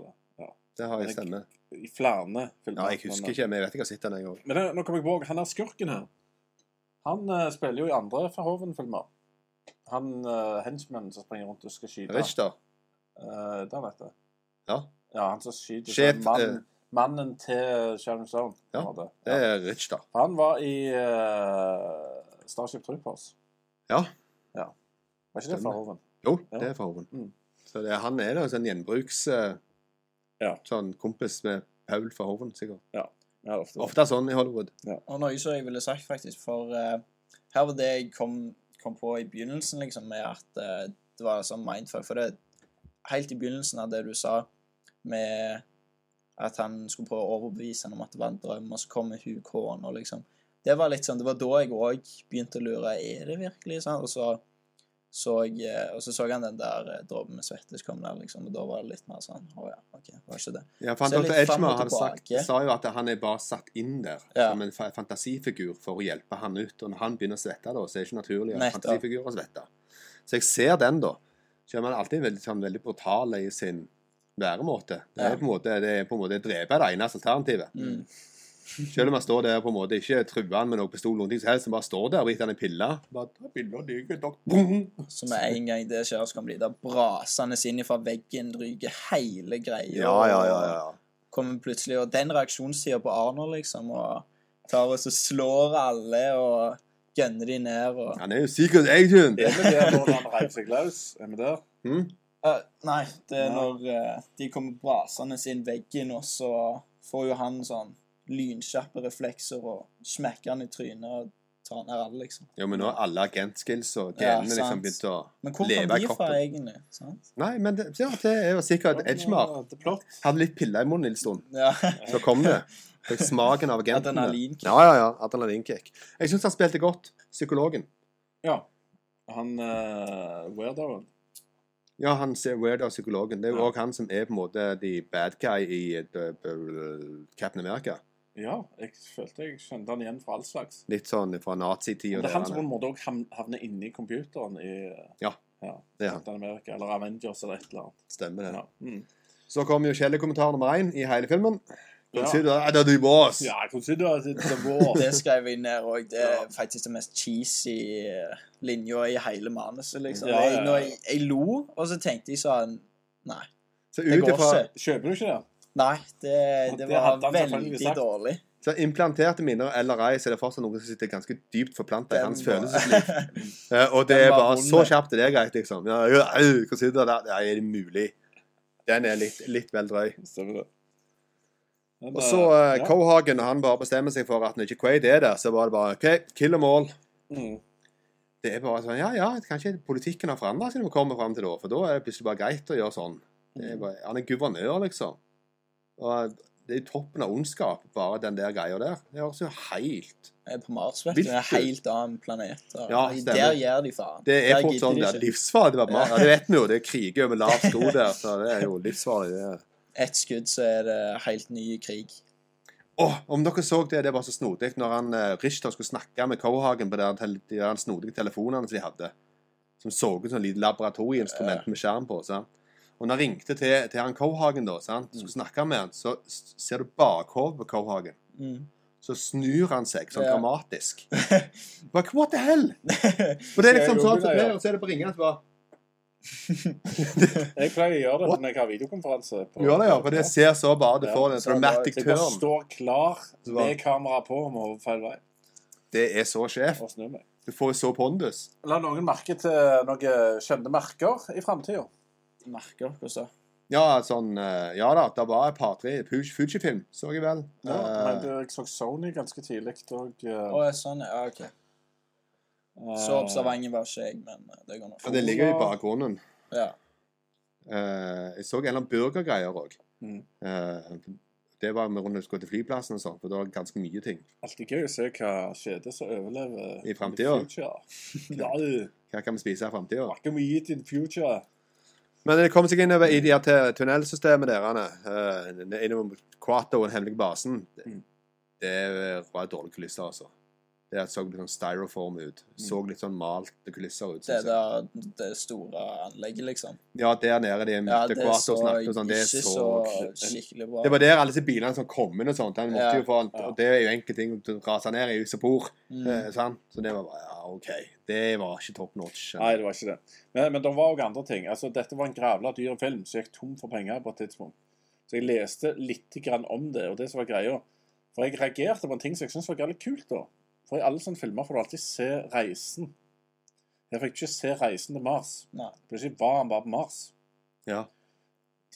[SPEAKER 4] det har jeg stemme.
[SPEAKER 5] I flere filmer. eh,
[SPEAKER 4] Ja, jeg husker ikke, men jeg vet ikke jeg har sett den en gang.
[SPEAKER 5] Men det, nå kommer jeg på, han er skurken her. Han eh, spiller jo i andre Verhoeven-filmer. eh, Han uh, henchmannen som springer rundt og skal skyte.
[SPEAKER 4] Richter.
[SPEAKER 5] Uh, der, vet jeg.
[SPEAKER 4] Ja.
[SPEAKER 5] Ja, han som skyter
[SPEAKER 4] Sjef,
[SPEAKER 5] sånn mann,
[SPEAKER 4] eh,
[SPEAKER 5] mannen til Sharon Stone.
[SPEAKER 4] Ja,
[SPEAKER 5] var det.
[SPEAKER 4] Det er Rich, da.
[SPEAKER 5] For Han var i eh, Starship Troopers.
[SPEAKER 4] Ja.
[SPEAKER 5] ja. Var ikke det
[SPEAKER 4] Stemmer.
[SPEAKER 5] fra Hoven?
[SPEAKER 4] Jo,
[SPEAKER 5] Ja.
[SPEAKER 4] det er fra Hoven.
[SPEAKER 5] Mm.
[SPEAKER 4] Så det, han er da en sånn gjenbruks... eh,
[SPEAKER 5] Ja.
[SPEAKER 4] Sånn kompis med Paul fra Hoven, sikkert.
[SPEAKER 5] Ja, det er ofte.
[SPEAKER 4] Ofte er sånn i Hollywood.
[SPEAKER 6] Og noe som jeg ville sagt, faktisk, for eh, her var det jeg kom, kom på i begynnelsen, liksom, med at eh, det var sånn mindfuck. For det helt i begynnelsen av det du sa med at han skulle prøve å overbevise henne om at det var en drøm, og så kommer hun kåren og liksom Det var litt sånn, det var da jeg òg begynte å lure er det virkelig sånn, og så så jeg, eh, og så så han den der eh, dråpen med svette som kom der, liksom, og da var det litt mer sånn Å ja, OK, det var ikke det.
[SPEAKER 4] Ja, for han,
[SPEAKER 6] Så litt fram og
[SPEAKER 4] Dr. Edgemar han sagt,
[SPEAKER 6] tilbake.
[SPEAKER 4] sa jo at han er bare satt inn der
[SPEAKER 6] Ja.
[SPEAKER 4] som en fa- fantasifigur for å hjelpe han ut. Og når han begynner å svette, da, så er det ikke naturlig at
[SPEAKER 6] Nettopp.
[SPEAKER 4] fantasifigurer svetter. Så jeg ser den, da. Selv om han alltid er veldig, sånn, veldig brutal i sin væremåte. Det
[SPEAKER 6] Ja.
[SPEAKER 4] er på en måte, det er på en måte å drepe det eneste alternativet.
[SPEAKER 6] Mm.
[SPEAKER 4] Selv om han står der på en måte ikke truer han med noe pistol, noen ting som helst, han bare står der og gir han en pille. Bare, «Ta piller, dyker, dok- bong!»
[SPEAKER 6] Så med en gang det skjer, så kan det bli der brasende inn fra veggen, ryker hele greia. Og Kommer plutselig, og den reaksjonstida på Arnold, liksom, og tar og så slår alle og gønner de ned og
[SPEAKER 4] Han er jo secret agent!
[SPEAKER 5] Er vi der når han reiv seg løs? Er vi der?
[SPEAKER 4] Mm?
[SPEAKER 6] Eh, Nei, det er
[SPEAKER 5] Nei.
[SPEAKER 6] når eh, de kommer brasende inn veggen, og så får jo han sånn lynkjappe reflekser og smekker han i trynet og tar ned alle, liksom.
[SPEAKER 4] Jo, men nå har alle agentskills og
[SPEAKER 6] Ja,
[SPEAKER 4] genene
[SPEAKER 6] sant.
[SPEAKER 4] liksom begynt å
[SPEAKER 6] Men hvor
[SPEAKER 4] Leve
[SPEAKER 6] kom
[SPEAKER 4] i
[SPEAKER 6] de fra,
[SPEAKER 4] kroppen.
[SPEAKER 6] egentlig? Sant?
[SPEAKER 4] Nei, men det, ja, det er jo sikkert Edgemar.
[SPEAKER 5] Ja, Det er plott.
[SPEAKER 4] Hadde litt piller i munnen en stund,
[SPEAKER 6] Ja.
[SPEAKER 4] så kom det. Fikk smaken av agentene.
[SPEAKER 6] Adrenalinkick.
[SPEAKER 4] Ja, ja, ja. Adrenalinkick. Jeg syns han spilte godt. Psykologen.
[SPEAKER 5] Ja. Han uh, weirdoen.
[SPEAKER 4] Ja, han ser weird av psykologen. Det er jo
[SPEAKER 5] Ja.
[SPEAKER 4] òg han som er på en måte the bad guy i eh, eh, Captain America.
[SPEAKER 5] Ja, jeg følte jeg skjønte han igjen fra all slags.
[SPEAKER 4] Litt sånn fra
[SPEAKER 5] Men
[SPEAKER 4] nazitida.
[SPEAKER 5] det er han som på en måte òg havner inni computeren i eh,
[SPEAKER 4] Ja,
[SPEAKER 5] ja,
[SPEAKER 4] det er han.
[SPEAKER 5] Captain America eller Avengers eller et eller annet.
[SPEAKER 4] Stemmer det.
[SPEAKER 5] Ja, mm.
[SPEAKER 4] Så kom jo Kjell-kommentar nummer én i hele filmen.
[SPEAKER 5] Ja.
[SPEAKER 4] Consider that the boss.
[SPEAKER 5] ja jeg consider at det er vår.
[SPEAKER 6] Det skrev jeg ned òg. Det er
[SPEAKER 5] Ja.
[SPEAKER 6] faktisk den mest cheesy eh, linja i hele manuset, liksom.
[SPEAKER 5] Ja, ja, ja.
[SPEAKER 6] Jeg, når jeg, jeg lo, og så tenkte jeg sånn Nei.
[SPEAKER 4] Så
[SPEAKER 6] Det
[SPEAKER 4] ut
[SPEAKER 6] går
[SPEAKER 4] ifra
[SPEAKER 6] ikke.
[SPEAKER 5] Kjøper du ikke det?
[SPEAKER 6] Nei, det,
[SPEAKER 5] Og
[SPEAKER 6] det
[SPEAKER 5] det
[SPEAKER 6] var
[SPEAKER 5] hadde han selvfølgelig
[SPEAKER 6] veldig
[SPEAKER 5] sagt.
[SPEAKER 6] dårlig.
[SPEAKER 4] Så implanterte minner eller ei, så er det fortsatt noe som sitter ganske dypt forplanta i
[SPEAKER 6] Den
[SPEAKER 4] hans
[SPEAKER 6] var-
[SPEAKER 4] følelsesliv. Eh, Og det
[SPEAKER 6] Den
[SPEAKER 4] er
[SPEAKER 6] var
[SPEAKER 4] bare
[SPEAKER 6] vond.
[SPEAKER 4] så kjapt til deg, greit, liksom. Ja, ja, au, hva sier du der? Nei, er det mulig? Den er litt, litt vel drøy.
[SPEAKER 5] Stemmer det. Men,
[SPEAKER 4] Og så
[SPEAKER 5] eh,
[SPEAKER 4] eh, Cohagen, når han bare bestemmer seg for at når ikke Quaid er der, så var det bare OK, kill them all.
[SPEAKER 5] mm.
[SPEAKER 4] Det er bare sånn Ja, ja, kanskje politikken har forandra seg når vi kommer fram til det, for da er det plutselig bare greit å gjøre sånn. Det
[SPEAKER 6] Mm.
[SPEAKER 4] er bare, han er guvernør, liksom. Og det er toppen av ondskap, bare den der greia der. Det høres jo helt
[SPEAKER 6] Jeg er på Mars, vet du.
[SPEAKER 4] Hvilket?
[SPEAKER 6] En helt annen planet. og
[SPEAKER 4] Ja,
[SPEAKER 6] der
[SPEAKER 4] stemmer.
[SPEAKER 6] gjør de faen.
[SPEAKER 4] Det
[SPEAKER 6] Der
[SPEAKER 4] er fort
[SPEAKER 6] gidder
[SPEAKER 4] sånn
[SPEAKER 6] de
[SPEAKER 4] ja,
[SPEAKER 6] ikke.
[SPEAKER 4] livsfarlig. Det, var, ja, det vet vi jo. Det er kriger over lav sko der, så det er jo livsfarlig. det er.
[SPEAKER 6] Ett skudd, så er det helt ny krig.
[SPEAKER 4] Åh, om dere så det, det var så snodig når han eh, Richter skulle snakke med Cohagen på de der, tel- de der snodige telefonene som de hadde, som så ut som et lite laboratorieinstrument med skjerm på. sant? Og når han ringte til, til han Cohagen, da, sant? skulle snakke med han, så s- ser du bakhodet på Cohagen.
[SPEAKER 6] Mm.
[SPEAKER 4] Så snur han seg sånn
[SPEAKER 6] Ja.
[SPEAKER 4] dramatisk. Bare, What the hell? For det er liksom
[SPEAKER 5] Ser
[SPEAKER 4] sånn
[SPEAKER 5] du
[SPEAKER 4] som
[SPEAKER 5] det,
[SPEAKER 4] det,
[SPEAKER 5] ja?
[SPEAKER 4] og så er det på ringene så bare
[SPEAKER 5] Jeg pleier å gjøre det
[SPEAKER 4] What?
[SPEAKER 5] når jeg har videokonferanse. på-
[SPEAKER 4] Gjør det, ja. For det ser så bare Du
[SPEAKER 5] Ja,
[SPEAKER 4] får en
[SPEAKER 6] så han bare-
[SPEAKER 4] dramatic
[SPEAKER 5] Jeg bare
[SPEAKER 4] turn.
[SPEAKER 5] står klar
[SPEAKER 4] Så bare-
[SPEAKER 5] med kameraet på om å hoppe feil vei
[SPEAKER 4] Det er så sjef.
[SPEAKER 5] og snu meg.
[SPEAKER 4] Du får så pondus.
[SPEAKER 5] La noen merke til noen kjente merker i framtida.
[SPEAKER 6] Merker dere så?
[SPEAKER 4] Ja, sånn eh, Ja da, det var et par-tre Fuji-film, så jeg vel.
[SPEAKER 5] Ja,
[SPEAKER 4] Eh,
[SPEAKER 5] men det- jeg så Sony ganske tidlig og eh,
[SPEAKER 6] Å, sånn, ja. OK. Så
[SPEAKER 5] eh,
[SPEAKER 6] observant var ikke jeg, men eh, det går nå.
[SPEAKER 4] men det ligger jo i bakgrunnen.
[SPEAKER 6] Ja.
[SPEAKER 4] Eh, jeg så en eller annen burgergreier òg.
[SPEAKER 5] Mm.
[SPEAKER 4] det var med rundt å gå til flyplassen og sånn, for det var ganske mye ting.
[SPEAKER 5] Alltid gøy å se hva skjede som overlever
[SPEAKER 4] I fremtiden.
[SPEAKER 5] in the future. Ja,
[SPEAKER 4] Hva kan vi spise i framtida?
[SPEAKER 5] What can we eat in the future?
[SPEAKER 4] Men det kom seg innover i de her te- tunnelsystemet derene, eh, innover mot Quato og den hemmelige basen.
[SPEAKER 5] Mm.
[SPEAKER 4] Det var et dårlig kulisse, altså. Det så litt sånn styroform ut. Så litt sånn malte kulisser
[SPEAKER 6] Mm.
[SPEAKER 4] ut.
[SPEAKER 6] Det
[SPEAKER 4] synes jeg.
[SPEAKER 6] der det store anlegget, liksom.
[SPEAKER 4] Ja, der nede de
[SPEAKER 6] Ja,
[SPEAKER 4] møtte
[SPEAKER 6] det
[SPEAKER 4] ja, og
[SPEAKER 6] så
[SPEAKER 4] snakket og sånn. Det
[SPEAKER 6] ikke
[SPEAKER 4] er så,
[SPEAKER 6] så skikkelig bra
[SPEAKER 4] Det var der alle disse bilene som kom inn og sånt. Den måtte
[SPEAKER 6] Ja,
[SPEAKER 4] jo få alt,
[SPEAKER 5] ja.
[SPEAKER 4] Og det er jo enkelte ting å rase ned i isopor.
[SPEAKER 6] mm.
[SPEAKER 4] Eh, sant? Så det var bare Ja, OK. Det var ikke top notch.
[SPEAKER 5] Nei, det var ikke det. Men, men det var òg andre ting. Altså, dette var en gravla dyr film som gikk tom for penger på et tidspunkt. Så jeg leste litt grann om det, og det som var greia. For jeg reagerte på en ting som jeg syntes var jævlig kult, da. For i alle sånne filmer får du alltid se reisen. Jeg fikk ikke se reisen til Mars.
[SPEAKER 6] Nei.
[SPEAKER 5] Plutselig var han bare på Mars.
[SPEAKER 4] Ja.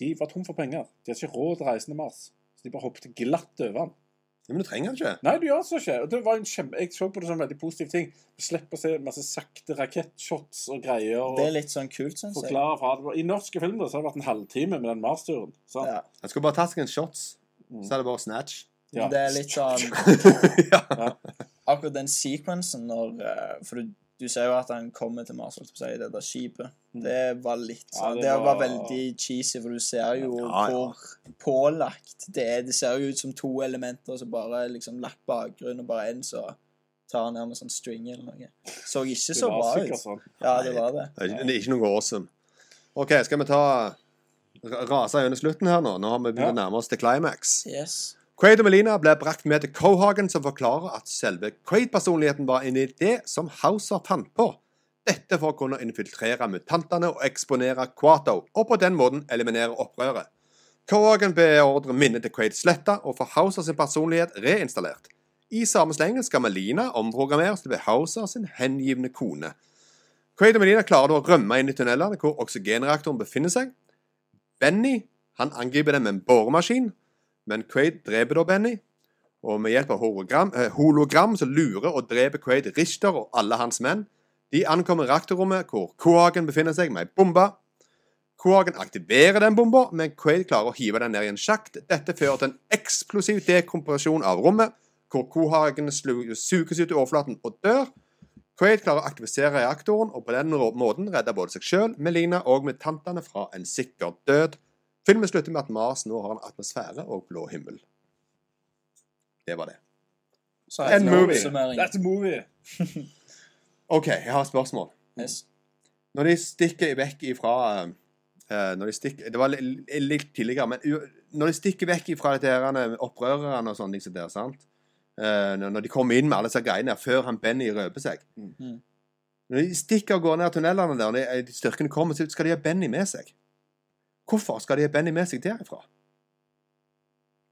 [SPEAKER 5] De var tom for penger. De hadde ikke råd til reisen til Mars. Så de bare hoppet glatt over den.
[SPEAKER 4] Ja, Men du trenger den ikke.
[SPEAKER 5] Nei, du gjør altså ikke. Og det var en kjempe... Jeg så på det som en veldig positiv ting. Slipp å se masse sakte rakettshots og greier. Og...
[SPEAKER 6] Det er litt sånn kult, syns jeg.
[SPEAKER 5] forklare fra det. var- I norske film da, så har det vært en halvtime med den Mars-turen. sant?
[SPEAKER 6] Ja.
[SPEAKER 4] Jeg skulle bare tatt seg en shots,
[SPEAKER 5] Mm.
[SPEAKER 4] så er det bare snatch.
[SPEAKER 5] Ja.
[SPEAKER 6] Det er litt sånn
[SPEAKER 4] ja.
[SPEAKER 6] Akkurat den sekvensen når eh, For du, du ser jo at han kommer til Mars, holdt jeg på å si, i det der skipet.
[SPEAKER 5] Mm.
[SPEAKER 6] Det var litt
[SPEAKER 5] Ja,
[SPEAKER 6] sånn
[SPEAKER 5] det
[SPEAKER 6] Det var
[SPEAKER 5] var-
[SPEAKER 6] veldig cheesy, for du ser jo
[SPEAKER 4] Ja, ja.
[SPEAKER 6] hvor pålagt det er. Det ser jo ut som to elementer som bare liksom lagt bakgrunn, og bare én så tar han nærmest sånn string eller noe. Så ikke
[SPEAKER 5] Det
[SPEAKER 6] så
[SPEAKER 5] var
[SPEAKER 6] bra
[SPEAKER 5] sikkert
[SPEAKER 6] ut.
[SPEAKER 5] sånn.
[SPEAKER 6] Ja, det var det.
[SPEAKER 4] Det er ikke- det er ikke noe awesome. OK, skal vi ta ra- rase gjennom slutten her nå? Nå har vi begynt å
[SPEAKER 5] Ja.
[SPEAKER 4] nærme oss til climax.
[SPEAKER 6] Yes.
[SPEAKER 4] Quaid og Melina ble brakt med til Cohagen, som forklarer at selve Quaid-personligheten var en idé som Hauser fant på. Dette for å kunne infiltrere mutantene og eksponere Quato, og på den måten eliminere opprøret. Cohagen beordrer minnet til Quaid sletta, og får Hauser sin personlighet reinstallert. I samme slengen skal Melina omprogrammeres til å bli Hauser sin hengivne kone. Quaid og Melina klarer da å rømme inn i tunnelene hvor oksygenreaktoren befinner seg. Benny han angriper dem med en boremaskin, men Quaid dreper da Benny. Og med hjelp av hologram, eh, hologram så lurer og dreper Quaid Richter og alle hans menn. De ankommer reaktorrommet hvor Kohagen befinner seg med ei bombe. Kohagen aktiverer den bomba, men Quaid klarer å hive den ned i en sjakt. Dette fører til en eksplosiv dekompresjon av rommet, hvor Kohagen slu- suges ut i overflaten og dør. Quaid klarer å aktivisere reaktoren og på den rå- måten redde både seg sjøl, Melina og mutantene fra en sikker død. Filmen slutter med at Mars nå har en atmosfære og blå himmel. Det var det.
[SPEAKER 6] Så
[SPEAKER 4] En
[SPEAKER 6] helt
[SPEAKER 4] movie.
[SPEAKER 6] oppsummering.
[SPEAKER 5] That's a movie!
[SPEAKER 4] OK, jeg har et spørsmål.
[SPEAKER 6] Yes.
[SPEAKER 4] Når de stikker vekk ifra eh, når de stikker, Det var li- li- litt tidligere, men u- når de stikker vekk ifra dette her, eh, opprørerne og sånne ting som der, sant Eh, når- Når de kommer inn med alle disse greiene før han Benny røper seg
[SPEAKER 6] Mm.
[SPEAKER 4] Når de stikker og går ned tunnelene der, og de, eh, de styrkene kommer, så skal de ha Benny med seg. Hvorfor skal de ha Benny med seg derifra?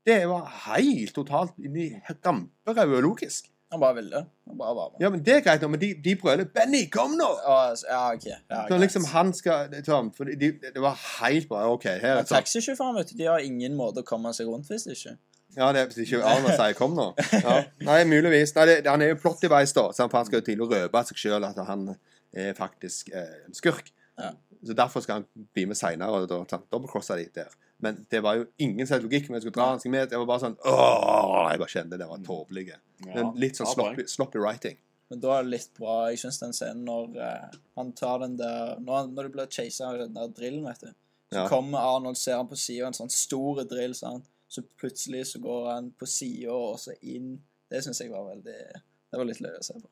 [SPEAKER 4] Det var helt totalt inni ramperaudet logisk.
[SPEAKER 6] Han bare ville. Han bare var med.
[SPEAKER 4] Ja, men Det er greit, nå, men de, de brøler 'Benny, kom nå!'
[SPEAKER 6] Å, Ja, OK. Ja,
[SPEAKER 4] Så
[SPEAKER 6] greit.
[SPEAKER 4] liksom han skal det- Tom, for de, de- Det var helt bra. OK, her er
[SPEAKER 6] Men
[SPEAKER 4] Tom.
[SPEAKER 6] Taxisjåføren, vet du, de har ingen måte å komme seg rundt hvis ikke.
[SPEAKER 4] Ja, det er hvis ikke Arna sier 'kom nå'. Ja. Nei, muligvis. Nei, det, han er jo plot device, da. sant, For han skal jo til å røpe seg sjøl at han er faktisk eh, en skurk.
[SPEAKER 6] Ja.
[SPEAKER 4] Så Derfor skal han bli med seinere og da ta- dobbeltcrosse de der. Men det var jo ingen sett logikk med å skulle dra han seg med. Det var bare sånn åh, Jeg bare kjente det var tåpelig.
[SPEAKER 5] Ja,
[SPEAKER 4] Litt sånn
[SPEAKER 5] bra poeng.
[SPEAKER 4] sloppy, sloppy writing.
[SPEAKER 6] Men da er det litt bra. Jeg syns den scenen når eh, han tar den der Når, han- når de blir chasa av den der drillen, vet du. Så
[SPEAKER 4] Ja.
[SPEAKER 6] kommer Arnold, ser han på sida, en sånn stor drill, sant. Så plutselig så går han på sida og så inn. Det syns jeg var veldig Det var litt løye å se på.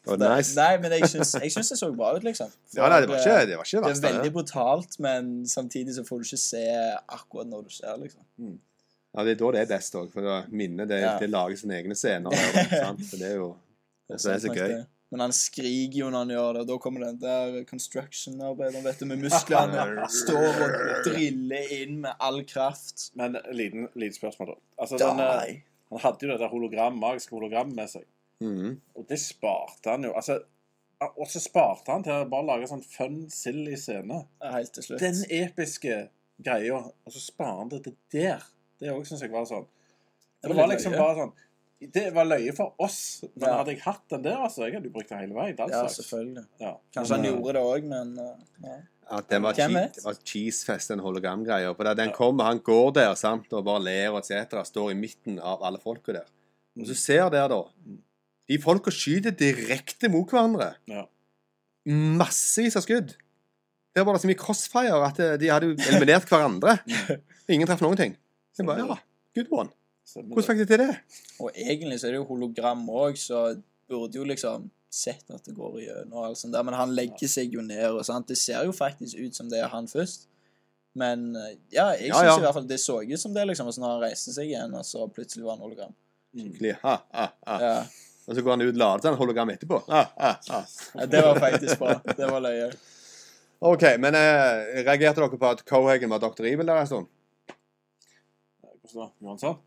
[SPEAKER 4] Det var
[SPEAKER 6] Det-
[SPEAKER 4] nice.
[SPEAKER 6] Nei, men jeg syns, jeg syns det så bra ut, liksom.
[SPEAKER 4] Ja, nei, det var ikke
[SPEAKER 6] For, eh,
[SPEAKER 4] det var ikke det
[SPEAKER 6] det
[SPEAKER 4] verste.
[SPEAKER 6] er veldig
[SPEAKER 4] det.
[SPEAKER 6] brutalt, men samtidig så får du ikke se akkurat når du ser, liksom.
[SPEAKER 4] Ja, det er da det er best òg, for da minner det,
[SPEAKER 6] Ja.
[SPEAKER 4] det lager sine egne scener. Der, sant? Så det er jo Og så er det så
[SPEAKER 6] sant,
[SPEAKER 4] gøy.
[SPEAKER 6] det. Men han skriker jo når han gjør det, og da kommer den der construction-arbeideren vet du, med musklene. står og driller inn med all kraft.
[SPEAKER 5] Men en liten, liten spørsmål, da. Altså, den, eh,
[SPEAKER 6] Die!
[SPEAKER 5] han hadde jo det der hologram, magiske hologrammet med seg,
[SPEAKER 4] Mhm.
[SPEAKER 5] og det sparte han jo. Altså, og så sparte han til å bare lage sånn fun, silly scene.
[SPEAKER 6] Helt til slutt.
[SPEAKER 5] Den episke greia, og så sparer han det til der. Det òg syns jeg var sånn.
[SPEAKER 6] Det
[SPEAKER 5] Det
[SPEAKER 6] var
[SPEAKER 5] var
[SPEAKER 6] litt
[SPEAKER 5] liksom
[SPEAKER 6] løye.
[SPEAKER 5] bare sånn Det var løye for oss, men
[SPEAKER 6] Ja.
[SPEAKER 5] hadde jeg hatt den der, altså, jeg hadde jo brukt den hele veien. den
[SPEAKER 6] ja,
[SPEAKER 5] slags.
[SPEAKER 6] selvfølgelig.
[SPEAKER 5] Ja.
[SPEAKER 6] Kanskje han
[SPEAKER 5] Men, eh,
[SPEAKER 6] gjorde det òg, men eh, ja.
[SPEAKER 4] At den var,
[SPEAKER 6] Hvem vet?
[SPEAKER 4] cheat, var cheesefest, den hologramgreia. For da den
[SPEAKER 5] Ja.
[SPEAKER 4] kommer, han går der sant? og bare ler og etc. Står i midten av alle folka der. Og så ser der, da De folka skyter direkte mot hverandre.
[SPEAKER 5] Ja.
[SPEAKER 4] Massevis av skudd. Der var det så mye crossfire at eh, de hadde jo eliminert hverandre. Ingen traff noen ting. Så jeg bare, ja, good one.
[SPEAKER 5] Stemmer det.
[SPEAKER 4] Hvordan fikk de til det?
[SPEAKER 6] Og egentlig så er det jo hologram òg, så burde jo liksom sett at det går igjennom, og alt sånt der, men han legger seg jo ned. og sant? Det ser jo faktisk ut som det er han først. Men eh, ja, jeg
[SPEAKER 4] Ja,
[SPEAKER 6] synes
[SPEAKER 4] ja.
[SPEAKER 6] i hvert fall det så ut som det, liksom. Og så når han reiste seg igjen, og så plutselig var han hologram.
[SPEAKER 4] Skikkelig. Ha, ha, ha.
[SPEAKER 6] Ja,
[SPEAKER 4] Og så går han ut og lader seg en hologram etterpå. Ha, ha, ha.
[SPEAKER 6] Ja, Det var faktisk bra. Det var løye.
[SPEAKER 4] OK, men eh, reagerte dere på at Cohagen var Dr. Evil der en stund?
[SPEAKER 5] Hvordan da? Johansson?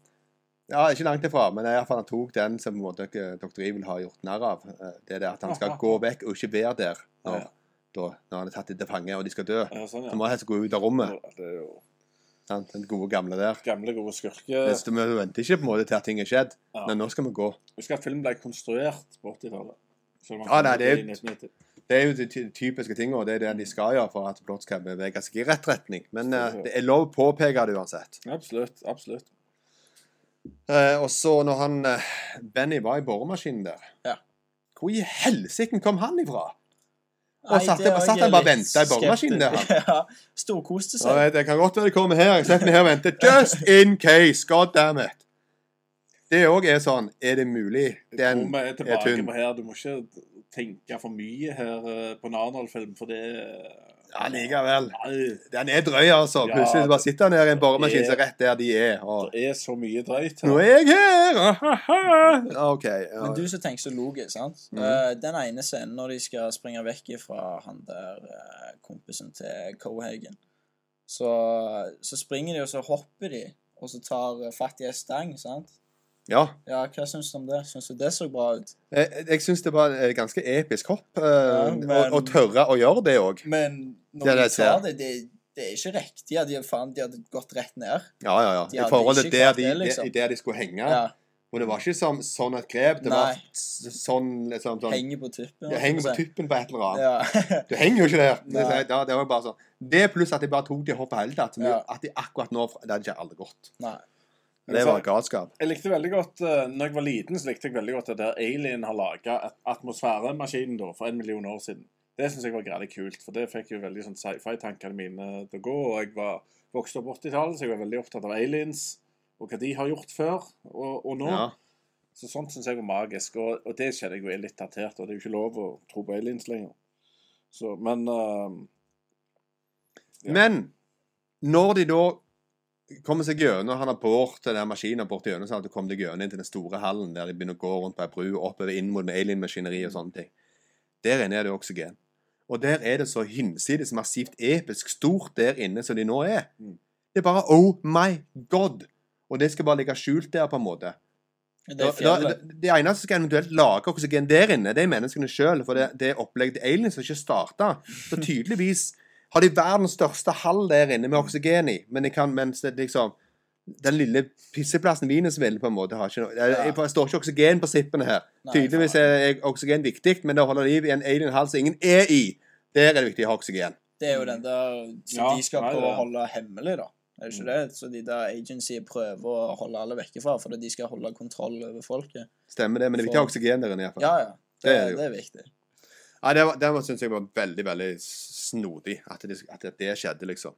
[SPEAKER 4] Ja, ikke langt ifra, men i hvert fall han tok den som på en måte ikke Dr. Evil har gjort narr av. Eh, Det er det at han skal gå vekk og ikke være der når,
[SPEAKER 5] Ja.
[SPEAKER 4] da, når han er tatt til fange og de skal dø.
[SPEAKER 5] Ja, sånn,
[SPEAKER 4] Så
[SPEAKER 5] ja.
[SPEAKER 4] må han helst gå ut av rommet.
[SPEAKER 5] Det er jo
[SPEAKER 4] Sant? Den gode gamle der.
[SPEAKER 5] gamle, gode skurker.
[SPEAKER 4] Hvis du- Vi venter ikke på en måte til at ting er skjedd,
[SPEAKER 5] Ja.
[SPEAKER 4] men nå skal vi gå.
[SPEAKER 5] Husk at filmen ble konstruert på 80-tallet. Selv om
[SPEAKER 4] Ah,
[SPEAKER 5] den
[SPEAKER 4] nei, det er-
[SPEAKER 5] kom ut i 1990.
[SPEAKER 4] Det er jo de ty- typiske tingene, det er det de skal gjøre for at plott skal bevege seg i rett retning. Men eh, det er lov å påpeke det uansett.
[SPEAKER 5] Absolutt. Absolutt.
[SPEAKER 4] Eh, og så når han eh, Benny var i boremaskinen der
[SPEAKER 6] Ja.
[SPEAKER 4] Hvor i helsiken kom han ifra?
[SPEAKER 6] Nei,
[SPEAKER 4] Og satt
[SPEAKER 6] det
[SPEAKER 4] jeg-
[SPEAKER 6] var
[SPEAKER 4] satt
[SPEAKER 6] jeg
[SPEAKER 4] jeg bare
[SPEAKER 6] litt
[SPEAKER 4] ventet i boremaskinen, det
[SPEAKER 6] skeptisk. Ja, storkoste
[SPEAKER 4] Ja,
[SPEAKER 6] seg.
[SPEAKER 4] jeg- det kan godt være det kommer her. Jeg setter meg her og venter. Just in case! God damn it! Det òg er sånn. Er det mulig?
[SPEAKER 5] Jeg tror
[SPEAKER 4] Den
[SPEAKER 5] vi er
[SPEAKER 4] er
[SPEAKER 5] tilbake
[SPEAKER 4] tynn.
[SPEAKER 5] på her. Du må ikke tenke for mye her eh, på en Arnold-film, for det
[SPEAKER 4] Ja, likevel.
[SPEAKER 5] Nei,
[SPEAKER 4] Den er drøy, altså.
[SPEAKER 5] Ja,
[SPEAKER 4] Plutselig bare sitter han her i en boremaskin
[SPEAKER 5] det
[SPEAKER 4] som er rett der de er. Og
[SPEAKER 5] det er så mye drøyt
[SPEAKER 4] nå
[SPEAKER 5] her.
[SPEAKER 4] er jeg her! Ah, OK. Ja.
[SPEAKER 6] Men du som tenker så logisk, sant?
[SPEAKER 4] Mhm.
[SPEAKER 6] Eh, den ene scenen når de skal springe vekk fra han der eh, kompisen til Cohagen, så, så springer de, og så hopper de, og så tar eh, fatt i en stang, sant?
[SPEAKER 4] ja.
[SPEAKER 6] Ja, hva syns du om det? Syns du det så bra ut?
[SPEAKER 4] Jeg, jeg syns det var et ganske episk hopp. eh,
[SPEAKER 6] men-
[SPEAKER 4] og, og tørre å gjøre det òg.
[SPEAKER 6] Men når
[SPEAKER 4] Det er
[SPEAKER 6] de
[SPEAKER 4] det jeg
[SPEAKER 6] tar
[SPEAKER 4] ser.
[SPEAKER 6] det, det, det er ikke riktig. Ja, de, faen, de hadde gått rett ned.
[SPEAKER 4] Ja, ja, ja.
[SPEAKER 6] De
[SPEAKER 4] I
[SPEAKER 6] hadde
[SPEAKER 4] forhold til
[SPEAKER 6] ikke
[SPEAKER 4] der
[SPEAKER 6] klart
[SPEAKER 4] de,
[SPEAKER 6] det, liksom.
[SPEAKER 4] i der de skulle henge.
[SPEAKER 6] Ja,
[SPEAKER 4] Og det var ikke som, sånn et grep. Det var
[SPEAKER 6] Nei.
[SPEAKER 4] s- sånn liksom sånn,
[SPEAKER 6] Henger på tuppen. altså.
[SPEAKER 4] Jeg henger på tuppen på et eller annet.
[SPEAKER 6] Ja.
[SPEAKER 4] Du henger jo ikke der. Det,
[SPEAKER 6] Nei.
[SPEAKER 4] ja, det var bare sånn. Det pluss at de bare tok det hoppet hele tatt. som
[SPEAKER 6] Ja.
[SPEAKER 4] gjorde At de akkurat nå Det hadde ikke alle gått.
[SPEAKER 6] Nei.
[SPEAKER 4] Det var galskap.
[SPEAKER 5] Jeg likte veldig godt, eh, når jeg var liten, så likte jeg veldig godt det der Alien har laga atmosfæremaskinen da, for en million år siden. Det syns jeg var greit kult, for det fikk jo veldig sånn sci-fi-tankene mine til å gå. og Jeg var vokste opp på 80-tallet, så jeg var veldig opptatt av aliens og hva de har gjort før og, og nå.
[SPEAKER 4] Ja.
[SPEAKER 5] Så sånt syns jeg var magisk, og, og det kjenner jeg jo er litt datert. Og det er jo ikke lov å tro på aliens lenger. Så, men eh, Ja.
[SPEAKER 4] Men når de da kommer seg gjennom Han har bort til den maskinen bort gjennom, sånn at du kommer deg gjennom inn til den store hallen der de begynner å gå rundt på ei bru og oppover inn mot alien-maskineri og sånne ting. Der inne er det oksygen. Og der er det så hinsides massivt episk stort der inne som de nå er.
[SPEAKER 5] Mm.
[SPEAKER 4] Det er bare oh my god! Og det skal bare ligge skjult der, på en måte.
[SPEAKER 6] Det
[SPEAKER 4] Da,
[SPEAKER 6] er
[SPEAKER 4] da,
[SPEAKER 6] fjellet.
[SPEAKER 4] det eneste som skal eventuelt lage oksygen der inne, det er menneskene sjøl. For det, det er opplegget til aliens som ikke starta. Så tydeligvis har de verdens største hall der inne med oksygen i. Men de kan, mens det liksom Den lille pisseplassen Venusvill på en måte har ikke noe Jeg, jeg, jeg står ikke oksygenprinsippene her.
[SPEAKER 6] Nei,
[SPEAKER 4] tydeligvis er, er oksygen viktig, men det holder liv i en alien-hall som ingen er i. Der er det viktig å ha oksygen.
[SPEAKER 6] Det er jo den der som
[SPEAKER 5] Mm. Ja,
[SPEAKER 6] de skal
[SPEAKER 5] nei,
[SPEAKER 6] prøve å
[SPEAKER 5] det- Mm.
[SPEAKER 6] holde hemmelig, da. Er det ikke det? Så de der agency prøver å holde alle vekke fra, fordi de skal holde kontroll over folket.
[SPEAKER 4] Stemmer det, men det er viktig å ha oksygen der inne. i hvert fall.
[SPEAKER 6] Ja, ja. Det,
[SPEAKER 4] Det
[SPEAKER 6] det,
[SPEAKER 4] er det
[SPEAKER 6] er,
[SPEAKER 4] jo.
[SPEAKER 6] viktig.
[SPEAKER 4] Nei, det, var- det var- synes jeg var veldig, veldig snodig at det, at det skjedde, liksom.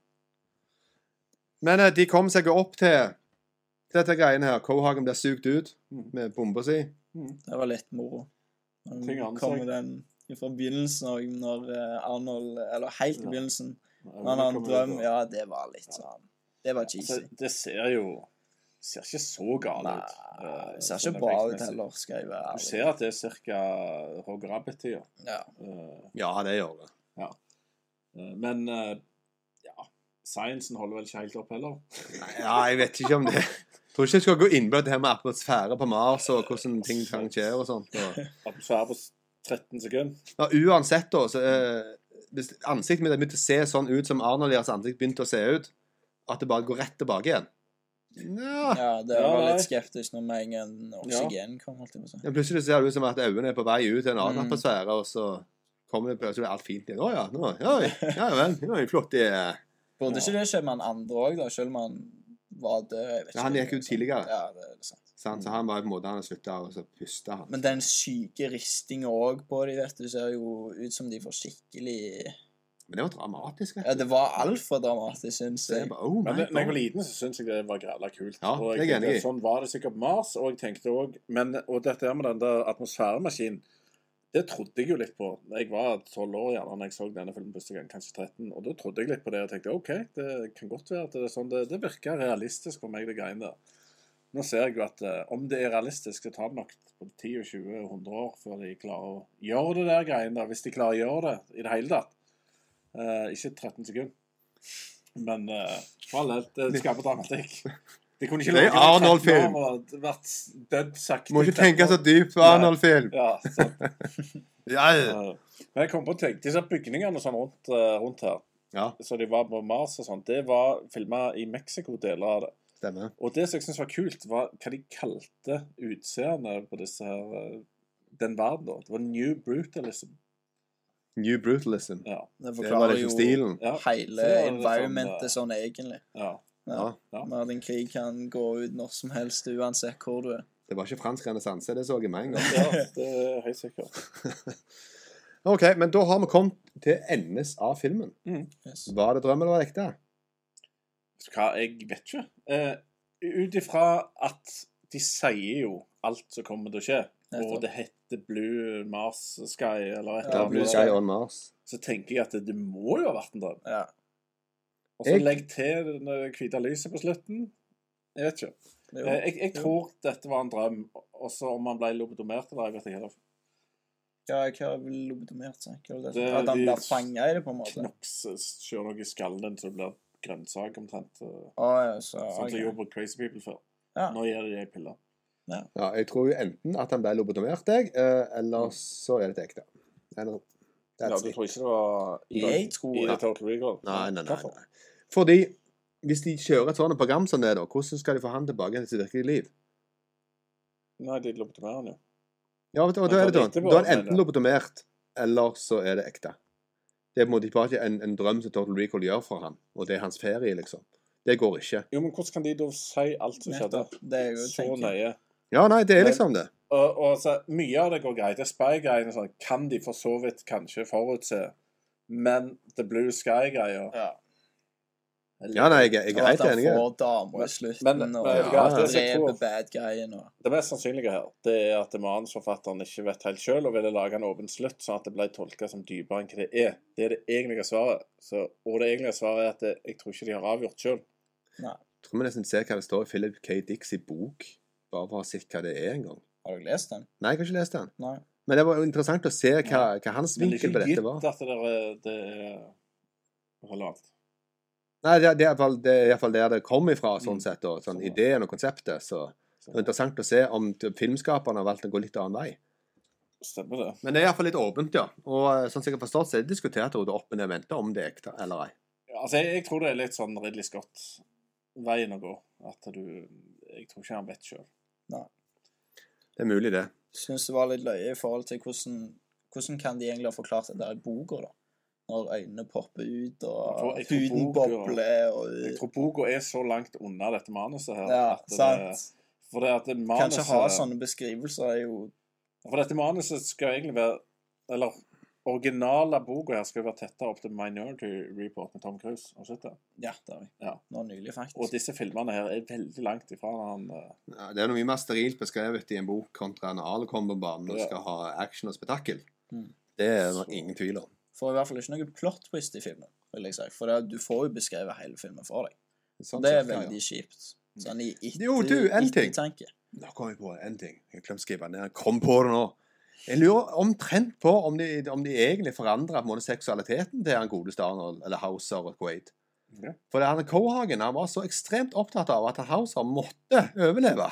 [SPEAKER 4] Men eh, de kom seg jo opp til til dette greiene her. Cohagen ble sugd ut
[SPEAKER 5] Mm.
[SPEAKER 4] med bomba si.
[SPEAKER 5] hmm.
[SPEAKER 6] Det var litt moro. Men
[SPEAKER 5] Ting annet,
[SPEAKER 6] kom
[SPEAKER 5] jeg-
[SPEAKER 6] den fra begynnelsen òg, når eh, Arnold Eller helt i
[SPEAKER 5] Ja.
[SPEAKER 6] begynnelsen.
[SPEAKER 5] jeg
[SPEAKER 6] Når han har en
[SPEAKER 5] kommer
[SPEAKER 6] drøm.
[SPEAKER 5] ut og-
[SPEAKER 6] Ja, det var litt sånn Det var
[SPEAKER 5] altså,
[SPEAKER 6] cheesy.
[SPEAKER 5] Det ser jo Ser ikke så galt
[SPEAKER 6] Nei,
[SPEAKER 5] ut. eh,
[SPEAKER 6] det ser
[SPEAKER 5] sånn
[SPEAKER 6] ikke bra ut
[SPEAKER 5] effektmessig.
[SPEAKER 6] heller, skal jeg være
[SPEAKER 5] Du
[SPEAKER 6] ærlig.
[SPEAKER 5] ser at det er ca. Roger Rabbit-tida.
[SPEAKER 6] Ja.
[SPEAKER 5] Eh,
[SPEAKER 4] Ja, det gjør det.
[SPEAKER 5] eh, Men eh, ja Sciencen holder vel ikke helt opp heller.
[SPEAKER 4] Ja, jeg vet ikke om det Tror ikke jeg skal gå inn på det her med atmosfære på Mars og hvordan ting kan skje og sånt. Og,
[SPEAKER 5] Atmosfære på s- 13 sekunder.
[SPEAKER 4] ja, uansett, da, så eh, Hvis ansiktet mitt begynte å se sånn ut som Arnold deres ansikt begynte å se ut, at det bare går rett tilbake igjen Nja
[SPEAKER 6] ja, det
[SPEAKER 5] Ja,
[SPEAKER 6] var
[SPEAKER 5] nei.
[SPEAKER 6] litt skeptisk når med en gang oksygen kom, holdt jeg på å si.
[SPEAKER 4] Ja, plutselig ser det ut som at øynene er på vei ut i en annen
[SPEAKER 6] Mm.
[SPEAKER 4] atmosfære, og så kommer det plutselig alt fint igjen. Å ja, nå, ja, ja vel. Nå er det flott. Det er
[SPEAKER 6] Burde
[SPEAKER 5] Ja.
[SPEAKER 6] ikke det skje med han andre òg, da? Selv om han var død. jeg vet
[SPEAKER 4] Ja, han
[SPEAKER 6] ikke.
[SPEAKER 4] gikk jo tidligere.
[SPEAKER 6] Ja, det er sant.
[SPEAKER 4] sant? Så han var på en måte han slutta, og så pusta han.
[SPEAKER 6] Men den syke ristinga òg på de, vet du, ser jo ut som de får skikkelig
[SPEAKER 4] Men det var dramatisk.
[SPEAKER 6] Ja, det var altfor dramatisk, syns
[SPEAKER 4] Det er
[SPEAKER 6] jeg.
[SPEAKER 4] bare, oh
[SPEAKER 5] Men
[SPEAKER 4] my
[SPEAKER 5] det, når jeg var
[SPEAKER 4] god.
[SPEAKER 5] liten, så syntes jeg det var gralla kult.
[SPEAKER 4] Ja,
[SPEAKER 5] og
[SPEAKER 4] det er jeg
[SPEAKER 5] tenkte,
[SPEAKER 4] enig i.
[SPEAKER 5] Sånn var det sikkert på Mars. Og jeg tenkte også, men, og dette her med den der atmosfæremaskinen, det trodde jeg jo litt på. Jeg var tolv år gjerne når jeg så denne filmen første gang, kanskje 13. Og da trodde jeg litt på det og tenkte OK, det kan godt være at det er sånn. Det, det virker realistisk for meg, det greiene der. Nå ser jeg jo at eh, om det er realistisk, så tar det nok både 10 og 20 og 100 år før de klarer å gjøre det der greiene der, hvis de klarer å gjøre det i det hele tatt. Eh, ikke 13 sekunder. Men eh, for all del, det skaper dramatikk. De kunne ikke
[SPEAKER 4] Det er
[SPEAKER 5] lage en
[SPEAKER 4] Arnold-film.
[SPEAKER 5] 13 år og vært dødsaktig.
[SPEAKER 4] Må ikke tenke så dypt på Arnold-film.
[SPEAKER 5] Ja, sant.
[SPEAKER 4] Ja.
[SPEAKER 5] Eh, Men jeg kom på å tenke, disse bygningene og sånn rundt, eh, rundt her,
[SPEAKER 4] ja,
[SPEAKER 5] så de var på Mars og sånn, det var filma i Mexico, deler av det.
[SPEAKER 4] stemmer.
[SPEAKER 5] Og det som jeg syntes var kult, var hva de kalte utseendet på disse her eh, den verden, da. Det var New Brutalism.
[SPEAKER 4] New brutalism.
[SPEAKER 5] Ja.
[SPEAKER 6] Det
[SPEAKER 4] Det var
[SPEAKER 6] forklarer
[SPEAKER 4] liksom
[SPEAKER 6] jo
[SPEAKER 4] stilen.
[SPEAKER 5] ja. Så
[SPEAKER 6] hele
[SPEAKER 5] det var litt sånn, eh,
[SPEAKER 6] environmentet sånn egentlig.
[SPEAKER 5] Ja.
[SPEAKER 6] Ja.
[SPEAKER 5] Ja.
[SPEAKER 6] Verden krig kan gå ut når som helst, uansett hvor du er.
[SPEAKER 4] Det var ikke fransk renessanse, det så jeg med en gang.
[SPEAKER 5] ja, det er helt sikkert.
[SPEAKER 4] OK, men da har vi kommet til endes av filmen.
[SPEAKER 6] Yes.
[SPEAKER 4] Var det drøm eller var det ekte?
[SPEAKER 5] Vet du hva, jeg vet ikke. Eh, Ut ifra at de sier jo alt som kommer til å skje, og
[SPEAKER 6] Nettopp.
[SPEAKER 5] det heter Blue Mars Sky eller et
[SPEAKER 6] Ja,
[SPEAKER 4] Da
[SPEAKER 5] eller
[SPEAKER 4] blir
[SPEAKER 5] annet,
[SPEAKER 6] Blue
[SPEAKER 4] Sky on Mars.
[SPEAKER 5] så tenker jeg at det, det må jo ha vært en drøm.
[SPEAKER 6] Ja.
[SPEAKER 5] Og så
[SPEAKER 4] Jeg-
[SPEAKER 5] legg til det når det hvite lyset på slutten. Jeg vet ikke.
[SPEAKER 6] Jo.
[SPEAKER 5] Eh, Jeg, jeg
[SPEAKER 6] Jo.
[SPEAKER 5] tror dette var en drøm, og så om han ble lobotomert eller jeg vet ikke. helt.
[SPEAKER 6] Hva hva er vel lobotomert seg? Hva er det?
[SPEAKER 5] Det-
[SPEAKER 6] At han
[SPEAKER 5] de-
[SPEAKER 6] blir fanga i det, på en måte?
[SPEAKER 5] Knokses kjører eh, noe i skallen din så det blir grønnsak omtrent. eh,
[SPEAKER 6] Å ja, så
[SPEAKER 5] Sånn som
[SPEAKER 6] ok.
[SPEAKER 5] jeg gjorde på Crazy People før.
[SPEAKER 6] Ja.
[SPEAKER 5] Nå gir de deg piller.
[SPEAKER 4] Ja, jeg tror jo enten at han ble lobotomert, jeg, eh, eller så er det til ekte. Eller
[SPEAKER 5] Ja,
[SPEAKER 4] that's
[SPEAKER 5] du
[SPEAKER 4] it.
[SPEAKER 5] tror ikke det var i,
[SPEAKER 6] Jeg tror-
[SPEAKER 5] i Total Recall?
[SPEAKER 4] Nei, nei, nei.
[SPEAKER 5] Hvorfor?
[SPEAKER 4] nei. Fordi hvis de kjører et sånt program som det, da, hvordan skal de få han tilbake til sitt virkelige liv?
[SPEAKER 5] Nei, de lobotomerer han jo.
[SPEAKER 4] Ja, og da- og da
[SPEAKER 5] Men
[SPEAKER 4] er det
[SPEAKER 5] da
[SPEAKER 4] sånn.
[SPEAKER 5] vet vi
[SPEAKER 4] Da er
[SPEAKER 5] hva
[SPEAKER 4] han
[SPEAKER 5] han
[SPEAKER 4] enten
[SPEAKER 5] mener.
[SPEAKER 4] lobotomert, eller så er det ekte. Det er på en måte bare ikke en, en drøm som Total Recall gjør for han, og det er hans ferie, liksom. Det går ikke.
[SPEAKER 5] Jo, men hvordan kan de da si alt som skjedde?
[SPEAKER 6] Nettopp. Det er jo
[SPEAKER 5] Så nøye.
[SPEAKER 4] Ja, nei, det er
[SPEAKER 5] Men-
[SPEAKER 4] liksom det.
[SPEAKER 5] Og, og så, mye av det går greit. Det er Spy-greiene sånn, kan de for så vidt kanskje forutse. Men The Blue Sky-greia
[SPEAKER 6] Ja.
[SPEAKER 4] Ja, nei, jeg, er- jeg
[SPEAKER 6] Og
[SPEAKER 4] er
[SPEAKER 6] at
[SPEAKER 4] helt
[SPEAKER 6] han
[SPEAKER 4] enig.
[SPEAKER 6] får damer i slutten,
[SPEAKER 5] Men- men-
[SPEAKER 6] og
[SPEAKER 5] men-
[SPEAKER 4] ja,
[SPEAKER 6] han
[SPEAKER 4] det
[SPEAKER 5] er så
[SPEAKER 6] dreper
[SPEAKER 5] cool.
[SPEAKER 6] bad guyen og
[SPEAKER 5] Det mest sannsynlige her det er at manusforfatteren ikke vet helt sjøl, og ville lage en åpen slutt, sånn at det ble tolka som dypere enn hva det er. Det er det egentlige svaret. Så, og det egentlige svaret er at det, jeg tror ikke de har avgjort sjøl.
[SPEAKER 4] Jeg tror vi nesten ser hva det står i Philip K. Dicks i bok, bare for å se hva det er en gang.
[SPEAKER 6] Har du lest den?
[SPEAKER 4] Nei, jeg har ikke lest den.
[SPEAKER 6] Nei.
[SPEAKER 4] Men det var jo interessant å se hva, hva hans
[SPEAKER 5] Men det
[SPEAKER 4] vinkel på
[SPEAKER 5] er ikke
[SPEAKER 4] dette var.
[SPEAKER 5] gitt at det er, det er relevant.
[SPEAKER 4] Nei, det, det er iallfall- det er iallfall der det kom ifra, sånn
[SPEAKER 5] Mm.
[SPEAKER 4] sett, og sånn
[SPEAKER 5] Sånn, ja.
[SPEAKER 4] ideen og konseptet. Så det var interessant å se om t- filmskaperne har valgt å gå litt annen vei.
[SPEAKER 5] Stemmer det.
[SPEAKER 4] Men det er iallfall litt åpent, ja. Og eh, sånn som jeg har forstått, så er det diskutert og det er opp med det mente om det er ekte eller ei.
[SPEAKER 5] Ja, altså, jeg, jeg tror det er litt sånn Ridley Scott-veien å gå. At du Jeg tror ikke han vet sjøl.
[SPEAKER 4] Det er mulig, det.
[SPEAKER 6] Syns det var litt løye i forhold til hvordan, hvordan kan de egentlig ha forklart det der i boka, da? Når øynene popper ut,
[SPEAKER 5] Jeg tror-
[SPEAKER 6] og
[SPEAKER 5] jeg tror
[SPEAKER 6] huden
[SPEAKER 5] boka-
[SPEAKER 6] bobler og
[SPEAKER 5] Jeg tror boka er så langt unna dette manuset her.
[SPEAKER 6] Ja,
[SPEAKER 5] at det- eh,
[SPEAKER 6] sant.
[SPEAKER 5] For det at det manuset,
[SPEAKER 6] Kanskje ha sånne beskrivelser er jo
[SPEAKER 5] For dette manuset skal egentlig være Eller originale boka her skal jo være tettere opp til Minority Report med Tom Cruise. Har du sett det?
[SPEAKER 6] Ja, det har vi.
[SPEAKER 5] Ja.
[SPEAKER 6] Nå nylig,
[SPEAKER 5] Og
[SPEAKER 6] faktisk.
[SPEAKER 5] disse filmene her er veldig langt ifra når han eh,
[SPEAKER 4] Ja, Det er noe mye mer sterilt beskrevet i en bok kontra når Arle kommer på banen og
[SPEAKER 5] Ja.
[SPEAKER 4] skal ha action og spetakkel.
[SPEAKER 6] Mm.
[SPEAKER 4] Det er det ingen tvil om.
[SPEAKER 6] Får i hvert fall ikke noe plot twist i filmen, vil jeg si. For det, du får jo beskrevet hele filmen for deg.
[SPEAKER 4] Sånn
[SPEAKER 6] Det er
[SPEAKER 4] sett, ja, ja.
[SPEAKER 6] veldig kjipt. Sånn i etter,
[SPEAKER 4] Jo, du, en ting.
[SPEAKER 6] ettertanke.
[SPEAKER 4] Nå kom jeg på en ting. Jeg glemte å skrive ned. Kom på det nå. Jeg lurer omtrent på om de, om de egentlig forandra seksualiteten til han godeste Arnold, eller Hauser og Quaid.
[SPEAKER 5] Ja.
[SPEAKER 4] For det han Cohagen han var så ekstremt opptatt av at Hauser måtte overleve.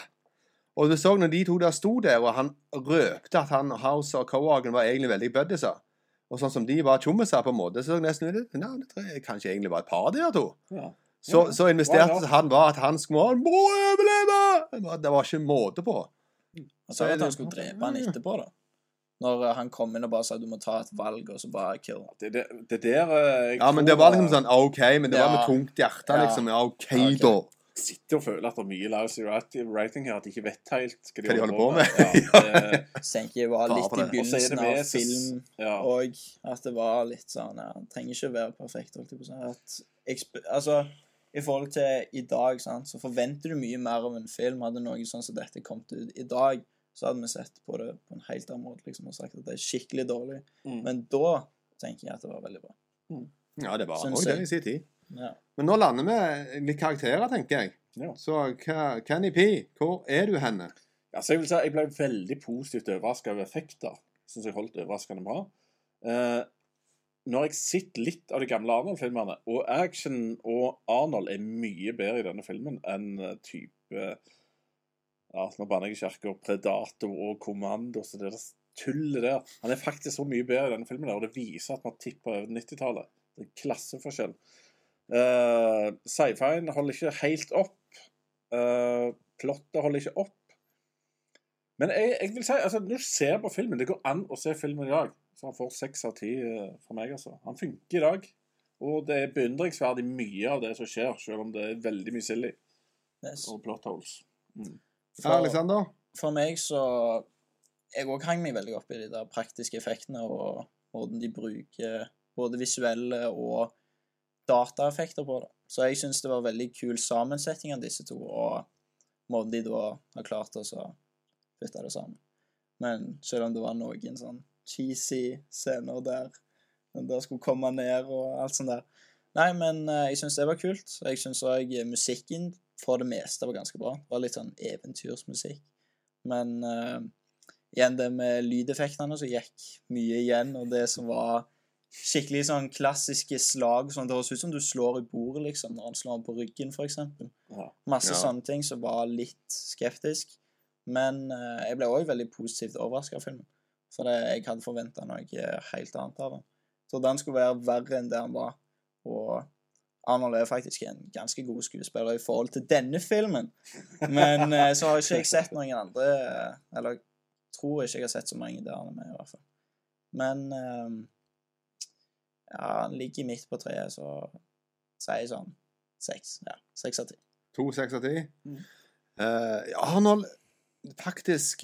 [SPEAKER 4] Og du så når de to der sto der, og han røpte at han, Hauser og Cohagen var egentlig veldig buddiser. Og sånn som de var tjommiser på en måte, så så jeg nesten ut Nei, det tror jeg kanskje egentlig var et par, de der to.
[SPEAKER 5] ja.
[SPEAKER 4] Så,
[SPEAKER 5] Ja,
[SPEAKER 4] så investerte
[SPEAKER 5] why not?
[SPEAKER 4] han var at han skulle han må overleve! Det var- Det var ikke måte på.
[SPEAKER 6] Han
[SPEAKER 4] Så
[SPEAKER 6] sa
[SPEAKER 4] er
[SPEAKER 6] jo at han
[SPEAKER 4] det-
[SPEAKER 6] skulle drepe han etterpå, da. Når eh, han kom inn og bare sa du må ta et valg, og så bare kill han.
[SPEAKER 5] Det, det, det der eh, jeg
[SPEAKER 4] Ja, men
[SPEAKER 5] tror
[SPEAKER 4] det
[SPEAKER 5] var-
[SPEAKER 4] var liksom sånn OK, men det var med
[SPEAKER 6] Ja.
[SPEAKER 4] tungt hjerte,
[SPEAKER 6] Ja.
[SPEAKER 4] liksom. Ja, OK,
[SPEAKER 6] Ja, ok.
[SPEAKER 4] da.
[SPEAKER 5] sitter og føler at det er mye Lives Writing her, at de ikke vet helt hva de,
[SPEAKER 4] Hva de holder på
[SPEAKER 5] Ja, det,
[SPEAKER 6] Senki var
[SPEAKER 4] Ta
[SPEAKER 6] litt
[SPEAKER 4] på
[SPEAKER 5] Og så er
[SPEAKER 6] i
[SPEAKER 4] det.
[SPEAKER 5] det
[SPEAKER 6] begynnelsen av
[SPEAKER 5] med så-
[SPEAKER 6] film
[SPEAKER 5] ja.
[SPEAKER 6] og at det var litt sånn ja, Han trenger ikke være perfekt. Holdt jeg på å si. At eksp- altså, I forhold til i dag, sant, så forventer du mye mer av en film. Hadde noe sånn som dette kommet ut i dag, så hadde vi sett på det på en helt annen måte liksom, og sagt at det er skikkelig dårlig.
[SPEAKER 5] Mm.
[SPEAKER 6] Men da tenker jeg at det var veldig bra.
[SPEAKER 4] Ja, det var
[SPEAKER 5] Sånn
[SPEAKER 6] Synes
[SPEAKER 4] også det
[SPEAKER 6] jeg.
[SPEAKER 4] i sin tid.
[SPEAKER 6] Ja.
[SPEAKER 4] Men nå lander vi litt karakterer, tenker jeg.
[SPEAKER 5] Ja.
[SPEAKER 4] Så hva- Kenny P, hvor er du henne?
[SPEAKER 5] Altså, jeg vil si jeg ble veldig positivt overraska over effekter. Syns jeg holdt overraskende bra. Eh, når jeg sitter litt av de gamle Arnold-filmene, og action og Arnold er mye bedre i denne filmen enn eh, type ja, Nå banner jeg i kirka. Predator og Kommando. Så det der tullet der. Han er faktisk så mye bedre i denne filmen, der, og det viser at man tipper over 90-tallet. Det er en klasseforskjell. Uh, Sci-fien holder ikke helt opp. Uh, Plottet holder ikke opp. Men jeg, jeg vil si, altså, når du ser på filmen, det går an å se filmen i dag. Så han får seks av ti eh, fra meg, altså. Han funker i dag. Og det er beundringsverdig mye av det som skjer, selv om det er veldig mye silly
[SPEAKER 6] Yes.
[SPEAKER 5] og plot holes.
[SPEAKER 4] Ja, Alexander?
[SPEAKER 6] for meg så Jeg òg hang meg veldig opp i de der praktiske effektene og måten de bruker både visuelle og dataeffekter på det. Så jeg syns det var veldig kul sammensetning av disse to, og måten de da har klart å så putte det sammen. Men selv om det var noen sånn cheesy scener der den der skulle komme ned og alt sånt der Nei, men eh, jeg syns det var kult. Jeg syns òg musikken for det meste var ganske bra. Det var litt sånn eventyrsmusikk. Men eh, igjen det med lydeffektene så gikk mye igjen, og det som var skikkelig sånn klassiske slag sånn, Det høres ut som du slår i bordet, liksom, når han slår han på ryggen, for eksempel.
[SPEAKER 5] Ja.
[SPEAKER 6] Masse
[SPEAKER 4] Ja.
[SPEAKER 6] sånne ting som var litt skeptisk. Men eh, jeg ble òg veldig positivt overraska av filmen. For det, jeg hadde forventa noe eh, helt annet av den. Så den skulle være verre enn det han var. Og Arnold er faktisk en ganske god skuespiller i forhold til denne filmen. Men eh, så har ikke jeg sett noen andre eh, Eller tror ikke jeg har sett så mange der han er med, i hvert fall. Men eh, ja, han ligger midt på treet, så sier jeg sånn seks. Ja, seks av ti.
[SPEAKER 4] To seks av ti.
[SPEAKER 6] Mm.
[SPEAKER 4] Eh, ja, Arnold Faktisk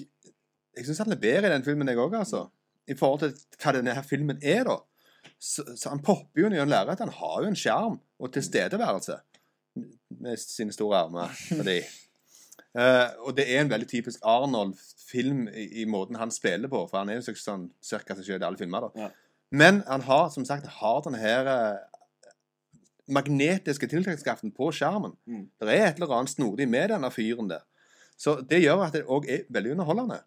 [SPEAKER 4] Jeg syns han er bedre i den filmen, jeg òg, altså. I forhold til hva denne her filmen er, da. Så, så han popper jo gjennom lerretet. Han har jo en sjarm og tilstedeværelse med sine store armer. Fordi. Eh, og det er en veldig typisk Arnold-film i, i måten han spiller på, for han er jo sånn- sånn cirka seg selv i alle filmer. da.
[SPEAKER 5] Ja.
[SPEAKER 4] Men han har som sagt har den her eh, magnetiske tiltrekningskraften på skjermen.
[SPEAKER 5] Mm.
[SPEAKER 4] Det er et eller annet snodig med denne fyren der. Så det gjør at det òg er veldig underholdende.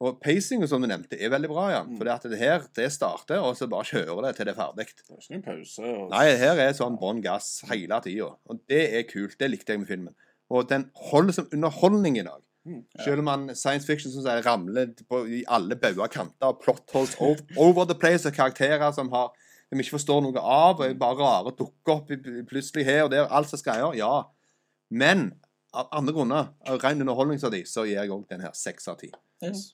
[SPEAKER 4] Og pacingen, som du nevnte, er veldig bra, ja.
[SPEAKER 5] Mm.
[SPEAKER 4] For det at det her, det starter, og så bare kjører det til det er ferdig.
[SPEAKER 5] Det er ikke noen pause. Og...
[SPEAKER 4] Nei, her er sånn bånn gass hele tida. Og det er kult. Det likte jeg med filmen. Og den holder som underholdning i dag.
[SPEAKER 5] Mm,
[SPEAKER 4] Selv om han science fiction som sier, ramler på, i alle bauger kanter, og plot holes over, over the place, og karakterer som har som ikke forstår noe av, og bare rare dukker opp i- i- plutselig her og der, alt som skal gjøre, ja. Men av andre grunner, av ren underholdningsverdi, så gir jeg òg den her seks av ti.
[SPEAKER 6] Yes.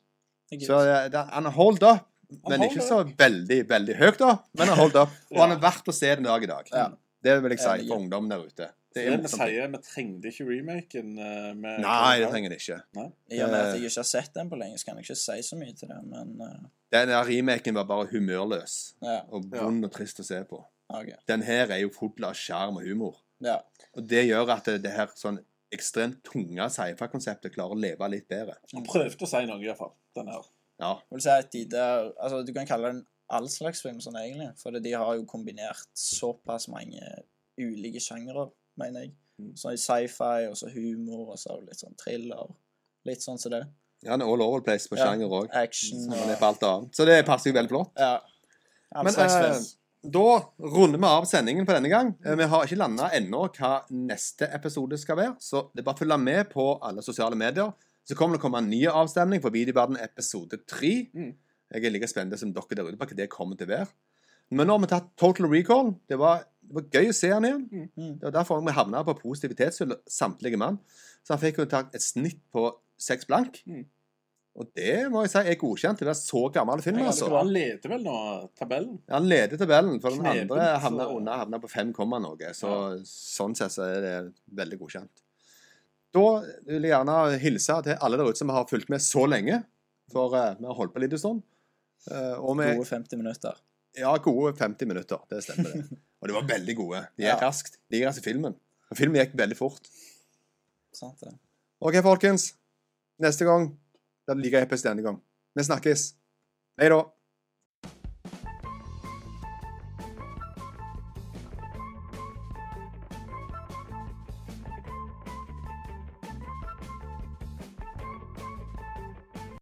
[SPEAKER 6] Det er
[SPEAKER 4] Så
[SPEAKER 6] kult.
[SPEAKER 4] eh, den- han har holdt opp, men
[SPEAKER 5] holder
[SPEAKER 4] ikke så veldig, veldig høyt opp. Men han har holdt opp, og han er verdt å se den dag i dag.
[SPEAKER 6] Ja.
[SPEAKER 4] Det vil jeg si
[SPEAKER 6] Enig.
[SPEAKER 4] for ungdom der ute.
[SPEAKER 5] Det
[SPEAKER 4] er
[SPEAKER 5] er vi
[SPEAKER 4] morsomt.
[SPEAKER 5] sier, vi trengte ikke remaken. eh, Med
[SPEAKER 4] Nei, det trenger det ikke. eh,
[SPEAKER 6] I og med at jeg ikke har sett den på lenge, så kan jeg ikke si så mye til det, men eh,
[SPEAKER 4] Den der remaken var bare humørløs
[SPEAKER 6] ja,
[SPEAKER 4] og
[SPEAKER 5] Ja.
[SPEAKER 4] vond og trist å se på.
[SPEAKER 6] OK.
[SPEAKER 4] Den her er jo full av sjarm og humor.
[SPEAKER 6] Ja.
[SPEAKER 4] Og det gjør at det, det her sånn ekstremt tunge sci-fi-konseptet klarer å leve litt bedre.
[SPEAKER 5] Han prøvde å si noe, iallfall. Den her.
[SPEAKER 4] Ja.
[SPEAKER 6] Jeg vil si at de der Altså, du kan kalle det en all slags film sånn, egentlig. For de har jo kombinert såpass mange ulike sjangre, mener jeg.
[SPEAKER 4] Mm.
[SPEAKER 6] Så i sci-fi, og så humor, og så litt sånn thriller. Litt sånn som det.
[SPEAKER 4] ja, han er all over the place på
[SPEAKER 6] Ja.
[SPEAKER 4] sjanger òg.
[SPEAKER 6] Action
[SPEAKER 4] Som han er
[SPEAKER 6] og
[SPEAKER 4] på alt annet. Så det passer jo veldig flott.
[SPEAKER 6] Ja. All
[SPEAKER 4] Men
[SPEAKER 6] slags
[SPEAKER 4] eh,
[SPEAKER 6] film.
[SPEAKER 4] da runder vi av sendingen på denne gang. Eh, Vi har ikke landa ennå hva neste episode skal være, så det er bare å følge med på alle sosiale medier. Så kommer det å komme en ny avstemning på Videoverden episode tre.
[SPEAKER 5] Mm.
[SPEAKER 4] Jeg er like spent som dere der ute på hva det kommer til å være. Men nå har vi tatt Total Recall. Det var, det var gøy å se han igjen.
[SPEAKER 6] Mm.
[SPEAKER 4] Det var derfor vi havna på positivitetshylla, samtlige mann. Så han fikk jo tatt et snitt på seks blank.
[SPEAKER 5] Mm.
[SPEAKER 4] Og det må jeg si er godkjent til å være så gammel film,
[SPEAKER 5] Jeg
[SPEAKER 4] altså.
[SPEAKER 5] hadde- Han leder vel nå tabellen.
[SPEAKER 4] Han leder tabellen, for den
[SPEAKER 5] Knepen,
[SPEAKER 4] andre
[SPEAKER 5] så-
[SPEAKER 4] havner unna havner på 5, komma noe. Så sånn sett så er det veldig godkjent. Da vil jeg gjerne hilse til alle der ute som har fulgt med så lenge. For eh, vi har holdt på litt en stund. Eh, og vi
[SPEAKER 6] Gode 50 minutter.
[SPEAKER 4] Ja, gode 50 minutter. Det stemmer, det. Og de var veldig gode. De
[SPEAKER 6] Ja.
[SPEAKER 4] gikk raskt. De gikk raskt i filmen. Og filmen gikk veldig fort.
[SPEAKER 6] Sant det?
[SPEAKER 4] OK, folkens. Neste gang blir det like episk denne gang. Vi snakkes. Hei da.